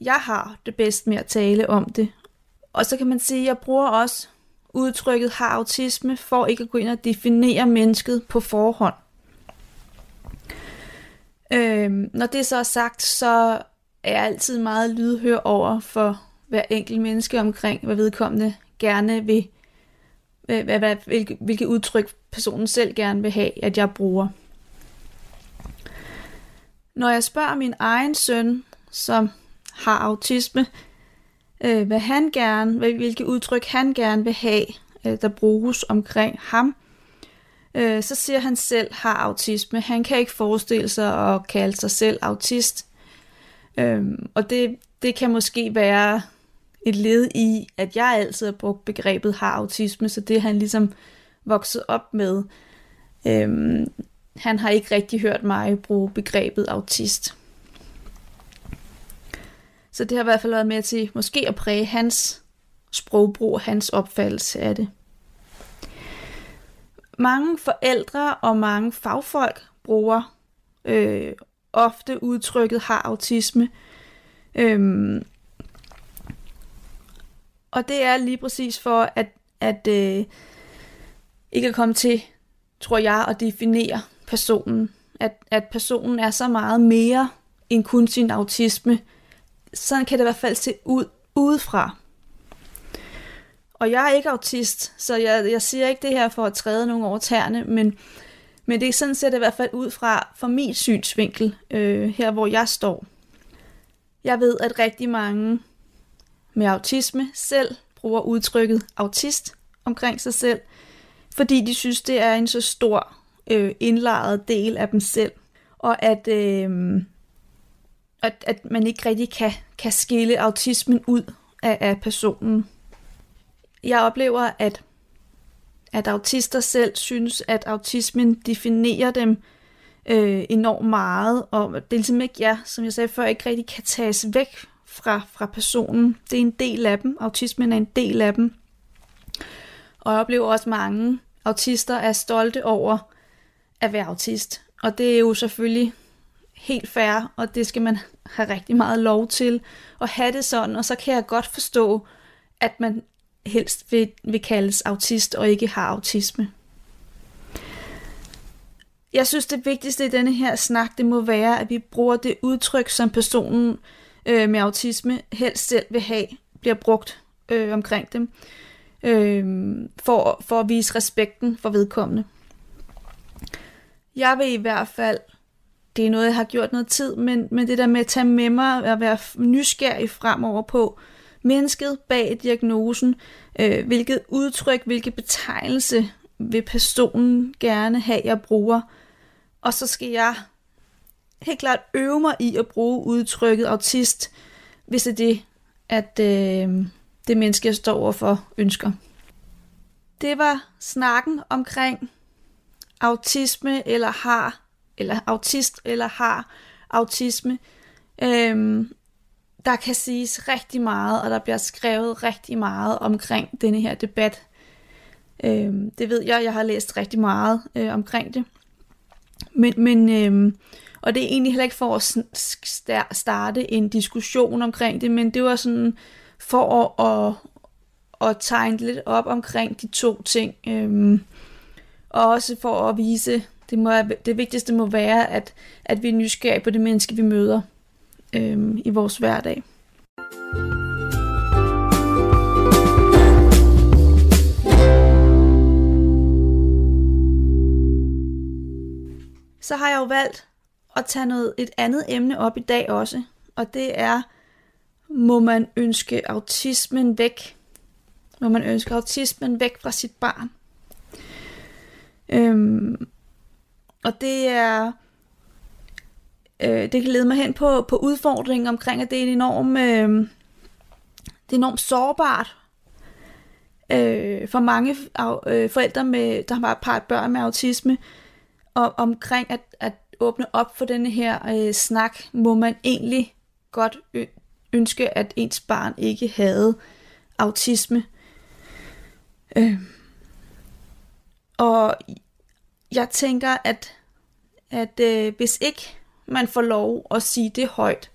F: jeg har det bedst med at tale om det, og så kan man sige, at jeg bruger også udtrykket har autisme, for ikke at gå ind og definere mennesket på forhånd. Øhm, når det så er sagt, så er jeg altid meget lydhør over for hver enkelt menneske omkring, hvad vedkommende gerne vil, hvad, hvad, hvilke, hvilke udtryk personen selv gerne vil have, at jeg bruger. Når jeg spørger min egen søn, som har autisme, øh, hvad han gerne, hvilke udtryk han gerne vil have, øh, der bruges omkring ham, øh, så siger han selv har autisme. Han kan ikke forestille sig at kalde sig selv autist. Øh, og det, det kan måske være et led i, at jeg altid har brugt begrebet har autisme, så det er han ligesom vokset op med. Øhm, han har ikke rigtig hørt mig bruge begrebet autist. Så det har i hvert fald været med til måske at præge hans sprogbrug, hans opfattelse af det. Mange forældre og mange fagfolk bruger øh, ofte udtrykket har autisme. Øhm, og det er lige præcis for at, at øh, ikke at komme til, tror jeg, at definere personen. At, at personen er så meget mere end kun sin autisme sådan kan det i hvert fald se ud udefra. Og jeg er ikke autist, så jeg, jeg siger ikke det her for at træde nogen over tæerne, men, men det er sådan ser det i hvert fald ud fra, fra min synsvinkel, øh, her hvor jeg står. Jeg ved, at rigtig mange med autisme selv bruger udtrykket autist omkring sig selv, fordi de synes, det er en så stor øh, indlejret del af dem selv, og at, øh, at, at man ikke rigtig kan, kan skille autismen ud af, af personen. Jeg oplever, at, at autister selv synes, at autismen definerer dem øh, enormt meget, og det er ligesom ikke jeg, som jeg sagde før, ikke rigtig kan tages væk fra, fra personen. Det er en del af dem. Autismen er en del af dem. Og jeg oplever også mange autister er stolte over at være autist. Og det er jo selvfølgelig helt fair, og det skal man have rigtig meget lov til at have det sådan. Og så kan jeg godt forstå, at man helst vil, vil kaldes autist og ikke har autisme. Jeg synes, det vigtigste i denne her snak, det må være, at vi bruger det udtryk, som personen øh, med autisme helst selv vil have, bliver brugt øh, omkring dem, øh, for, for at vise respekten for vedkommende. Jeg vil i hvert fald, det er noget, jeg har gjort noget tid, men, men det der med at tage med mig og være nysgerrig fremover på mennesket bag diagnosen, øh, hvilket udtryk, hvilke betegnelse vil personen gerne have, jeg bruger, og så skal jeg helt klart øve mig i at bruge udtrykket autist, hvis det er det, at øh, det menneske, jeg står overfor, ønsker. Det var snakken omkring autisme eller har, eller autist eller har autisme. Øhm, der kan siges rigtig meget, og der bliver skrevet rigtig meget omkring denne her debat. Øhm, det ved jeg, jeg har læst rigtig meget øh, omkring det. Men, men øhm, og det er egentlig heller ikke for at starte en diskussion omkring det, men det var sådan for at, at, at tegne lidt op omkring de to ting. Øhm, og også for at vise, det, må, det vigtigste må være, at, at vi er nysgerrige på det menneske, vi møder øhm, i vores hverdag. Så har jeg jo valgt at tage noget, et andet emne op i dag også, og det er, må man ønske autismen væk? Må man ønske autismen væk fra sit barn? Øhm, og det er, øh, det kan lede mig hen på, på udfordringen omkring, at det er en enorm, øh, det er enormt sårbart øh, for mange af, øh, forældre, med, der har et par børn med autisme, og, omkring at, at åbne op for denne her øh, snak, må man egentlig godt ønske, at ens barn ikke havde autisme. Øh. Og jeg tænker, at, at øh, hvis ikke man får lov at sige det højt,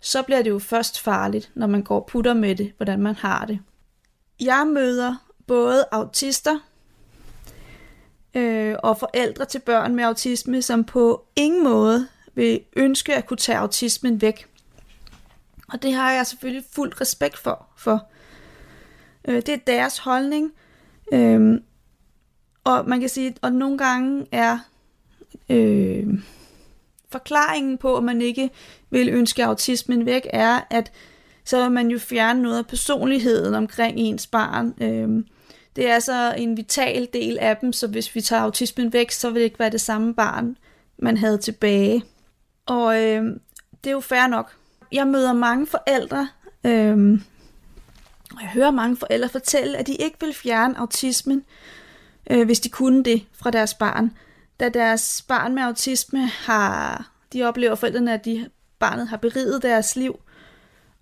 F: så bliver det jo først farligt, når man går og putter med det, hvordan man har det. Jeg møder både autister, øh, og forældre til børn med autisme, som på ingen måde vil ønske at kunne tage autismen væk. Og det har jeg selvfølgelig fuld respekt for. for. Øh, det er deres holdning. Øh, og man kan sige, at nogle gange er øh, forklaringen på, at man ikke vil ønske autismen væk, er, at så vil man jo fjerne noget af personligheden omkring ens barn. Øh, det er altså en vital del af dem, så hvis vi tager autismen væk, så vil det ikke være det samme barn, man havde tilbage. Og øh, det er jo fair nok. Jeg møder mange forældre, øh, og jeg hører mange forældre fortælle, at de ikke vil fjerne autismen, øh, hvis de kunne det fra deres barn. Da deres barn med autisme har, de oplever forældrene, at de, barnet har beriget deres liv.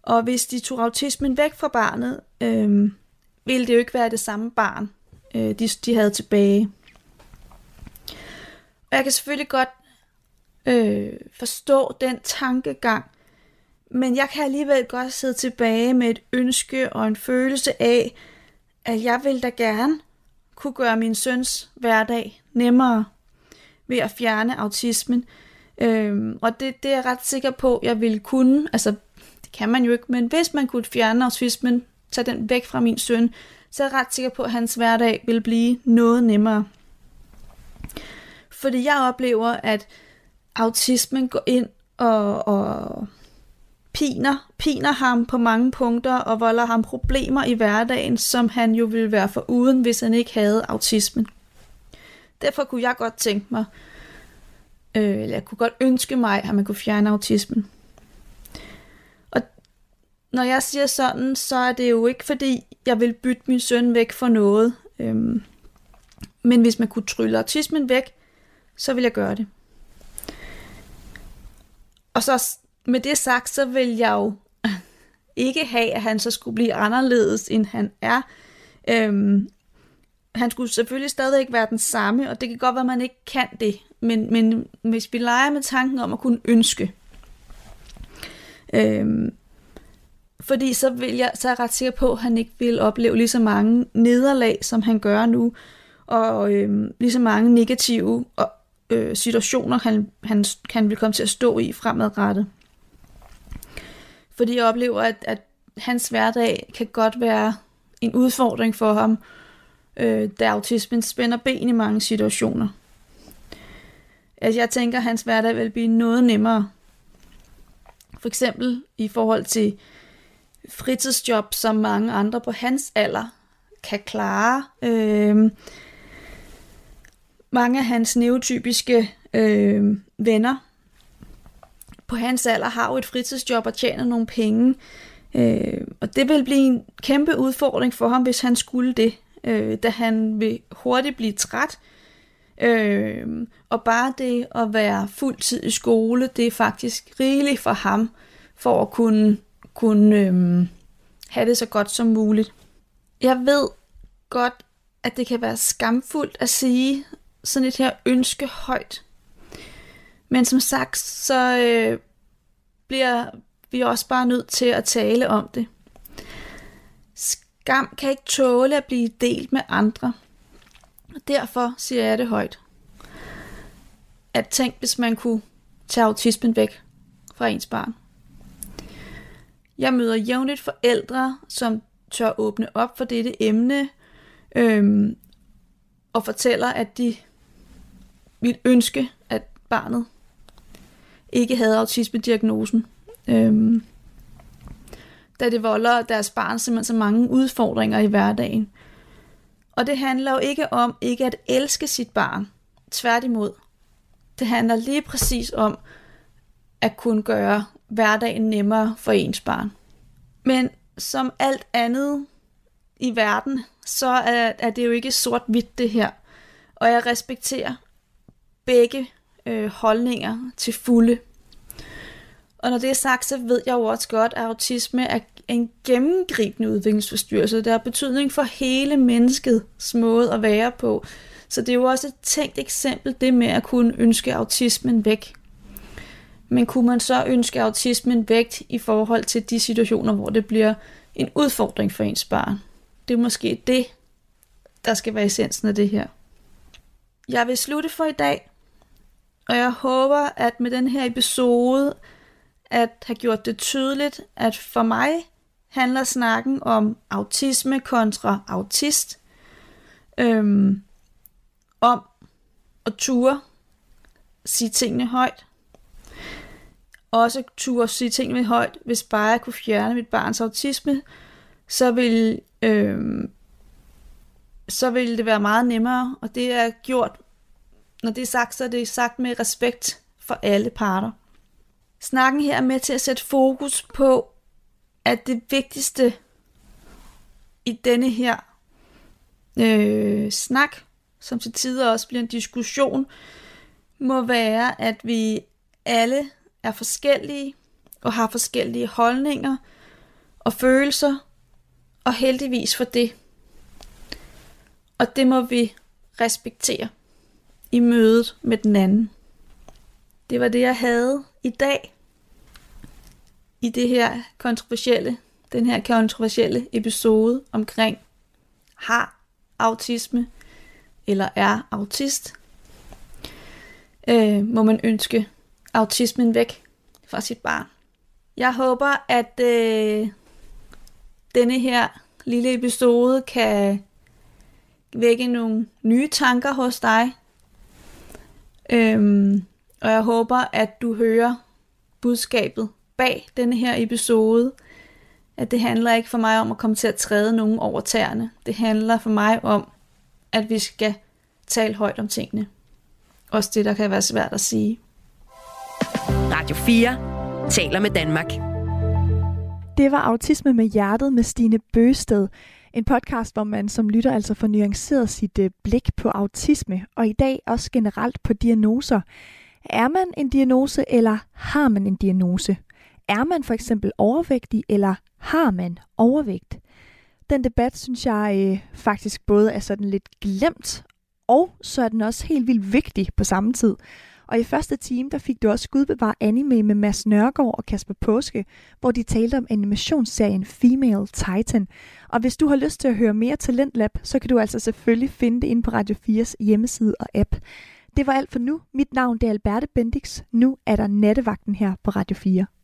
F: Og hvis de tog autismen væk fra barnet, øh, ville det jo ikke være det samme barn, øh, de, de havde tilbage. Og jeg kan selvfølgelig godt øh, forstå den tankegang, men jeg kan alligevel godt sidde tilbage med et ønske og en følelse af, at jeg vil da gerne kunne gøre min søns hverdag nemmere ved at fjerne autismen. Øhm, og det, det er jeg ret sikker på, jeg ville kunne. Altså, det kan man jo ikke, men hvis man kunne fjerne autismen, tage den væk fra min søn, så er jeg ret sikker på, at hans hverdag vil blive noget nemmere. Fordi jeg oplever, at autismen går ind og, og piner, piner ham på mange punkter og volder ham problemer i hverdagen, som han jo ville være for uden, hvis han ikke havde autismen. derfor kunne jeg godt tænke mig, øh, eller jeg kunne godt ønske mig, at man kunne fjerne autismen. Og når jeg siger sådan, så er det jo ikke fordi, jeg vil bytte min søn væk for noget. Øhm, men hvis man kunne trylle autismen væk, så vil jeg gøre det. Og så s- med det sagt, så vil jeg jo ikke have, at han så skulle blive anderledes, end han er. Øhm, han skulle selvfølgelig stadigvæk være den samme, og det kan godt være, at man ikke kan det. Men, men hvis vi leger med tanken om at kunne ønske, øhm, fordi så, vil jeg, så er jeg ret sikker på, at han ikke vil opleve lige så mange nederlag, som han gør nu, og øhm, lige så mange negative og, øh, situationer, han, han, han vil komme til at stå i fremadrettet. Fordi jeg oplever, at, at hans hverdag kan godt være en udfordring for ham, øh, da autismen spænder ben i mange situationer. Altså jeg tænker, at hans hverdag vil blive noget nemmere. For eksempel i forhold til fritidsjob, som mange andre på hans alder kan klare. Øh, mange af hans neotypiske øh, venner på hans alder har jo et fritidsjob og tjener nogle penge. Øh, og det vil blive en kæmpe udfordring for ham, hvis han skulle det, øh, da han vil hurtigt blive træt. Øh, og bare det at være fuldtid i skole, det er faktisk rigeligt for ham, for at kunne, kunne øh, have det så godt som muligt. Jeg ved godt, at det kan være skamfuldt at sige sådan et her ønske højt. Men som sagt, så øh, bliver vi også bare nødt til at tale om det. Skam kan ikke tåle at blive delt med andre. Og derfor siger jeg det højt. At tænk, hvis man kunne tage autismen væk fra ens barn. Jeg møder jævnligt forældre, som tør åbne op for dette emne, øhm, og fortæller, at de ville ønske, at barnet ikke havde autisme-diagnosen. Øhm, da det volder deres barn simpelthen så mange udfordringer i hverdagen. Og det handler jo ikke om ikke at elske sit barn. Tværtimod. Det handler lige præcis om at kunne gøre hverdagen nemmere for ens barn. Men som alt andet i verden, så er, er det jo ikke sort-hvidt det her. Og jeg respekterer begge øh, holdninger til fulde. Og når det er sagt, så ved jeg jo også godt, at autisme er en gennemgribende udviklingsforstyrrelse. Der har betydning for hele menneskets måde at være på. Så det er jo også et tænkt eksempel, det med at kunne ønske autismen væk. Men kunne man så ønske autismen væk i forhold til de situationer, hvor det bliver en udfordring for ens barn? Det er måske det, der skal være essensen af det her. Jeg vil slutte for i dag, og jeg håber, at med den her episode, at have gjort det tydeligt, at for mig handler snakken om autisme kontra autist, øhm, om at ture sige tingene højt, også turde sige tingene højt, hvis bare jeg kunne fjerne mit barns autisme, så vil, øh, så vil det være meget nemmere, og det er gjort, når det er sagt, så er det sagt med respekt for alle parter. Snakken her er med til at sætte fokus på, at det vigtigste i denne her øh, snak, som til tider også bliver en diskussion, må være, at vi alle er forskellige og har forskellige holdninger og følelser, og heldigvis for det. Og det må vi respektere i mødet med den anden. Det var det, jeg havde i dag i det her kontroversielle, den her kontroversielle episode omkring har autisme eller er autist. Øh, må man ønske autismen væk fra sit barn. Jeg håber, at øh, denne her lille episode kan vække nogle nye tanker hos dig. Øhm, og jeg håber, at du hører budskabet bag denne her episode. At det handler ikke for mig om at komme til at træde nogen over tæerne. Det handler for mig om, at vi skal tale højt om tingene. Også det, der kan være svært at sige.
B: Radio 4 taler med Danmark.
C: Det var Autisme med Hjertet med Stine Bøsted. En podcast, hvor man som lytter altså får nuanceret sit øh, blik på autisme, og i dag også generelt på diagnoser. Er man en diagnose, eller har man en diagnose? Er man for eksempel overvægtig, eller har man overvægt? Den debat, synes jeg øh, faktisk både er sådan lidt glemt, og så er den også helt vildt vigtig på samme tid. Og i første time, der fik du også skudbevare anime med Mads Nørgaard og Kasper Påske, hvor de talte om animationsserien Female Titan. Og hvis du har lyst til at høre mere Talentlab, så kan du altså selvfølgelig finde det inde på Radio 4's hjemmeside og app. Det var alt for nu. Mit navn det er Alberte Bendix. Nu er der nattevagten her på Radio 4.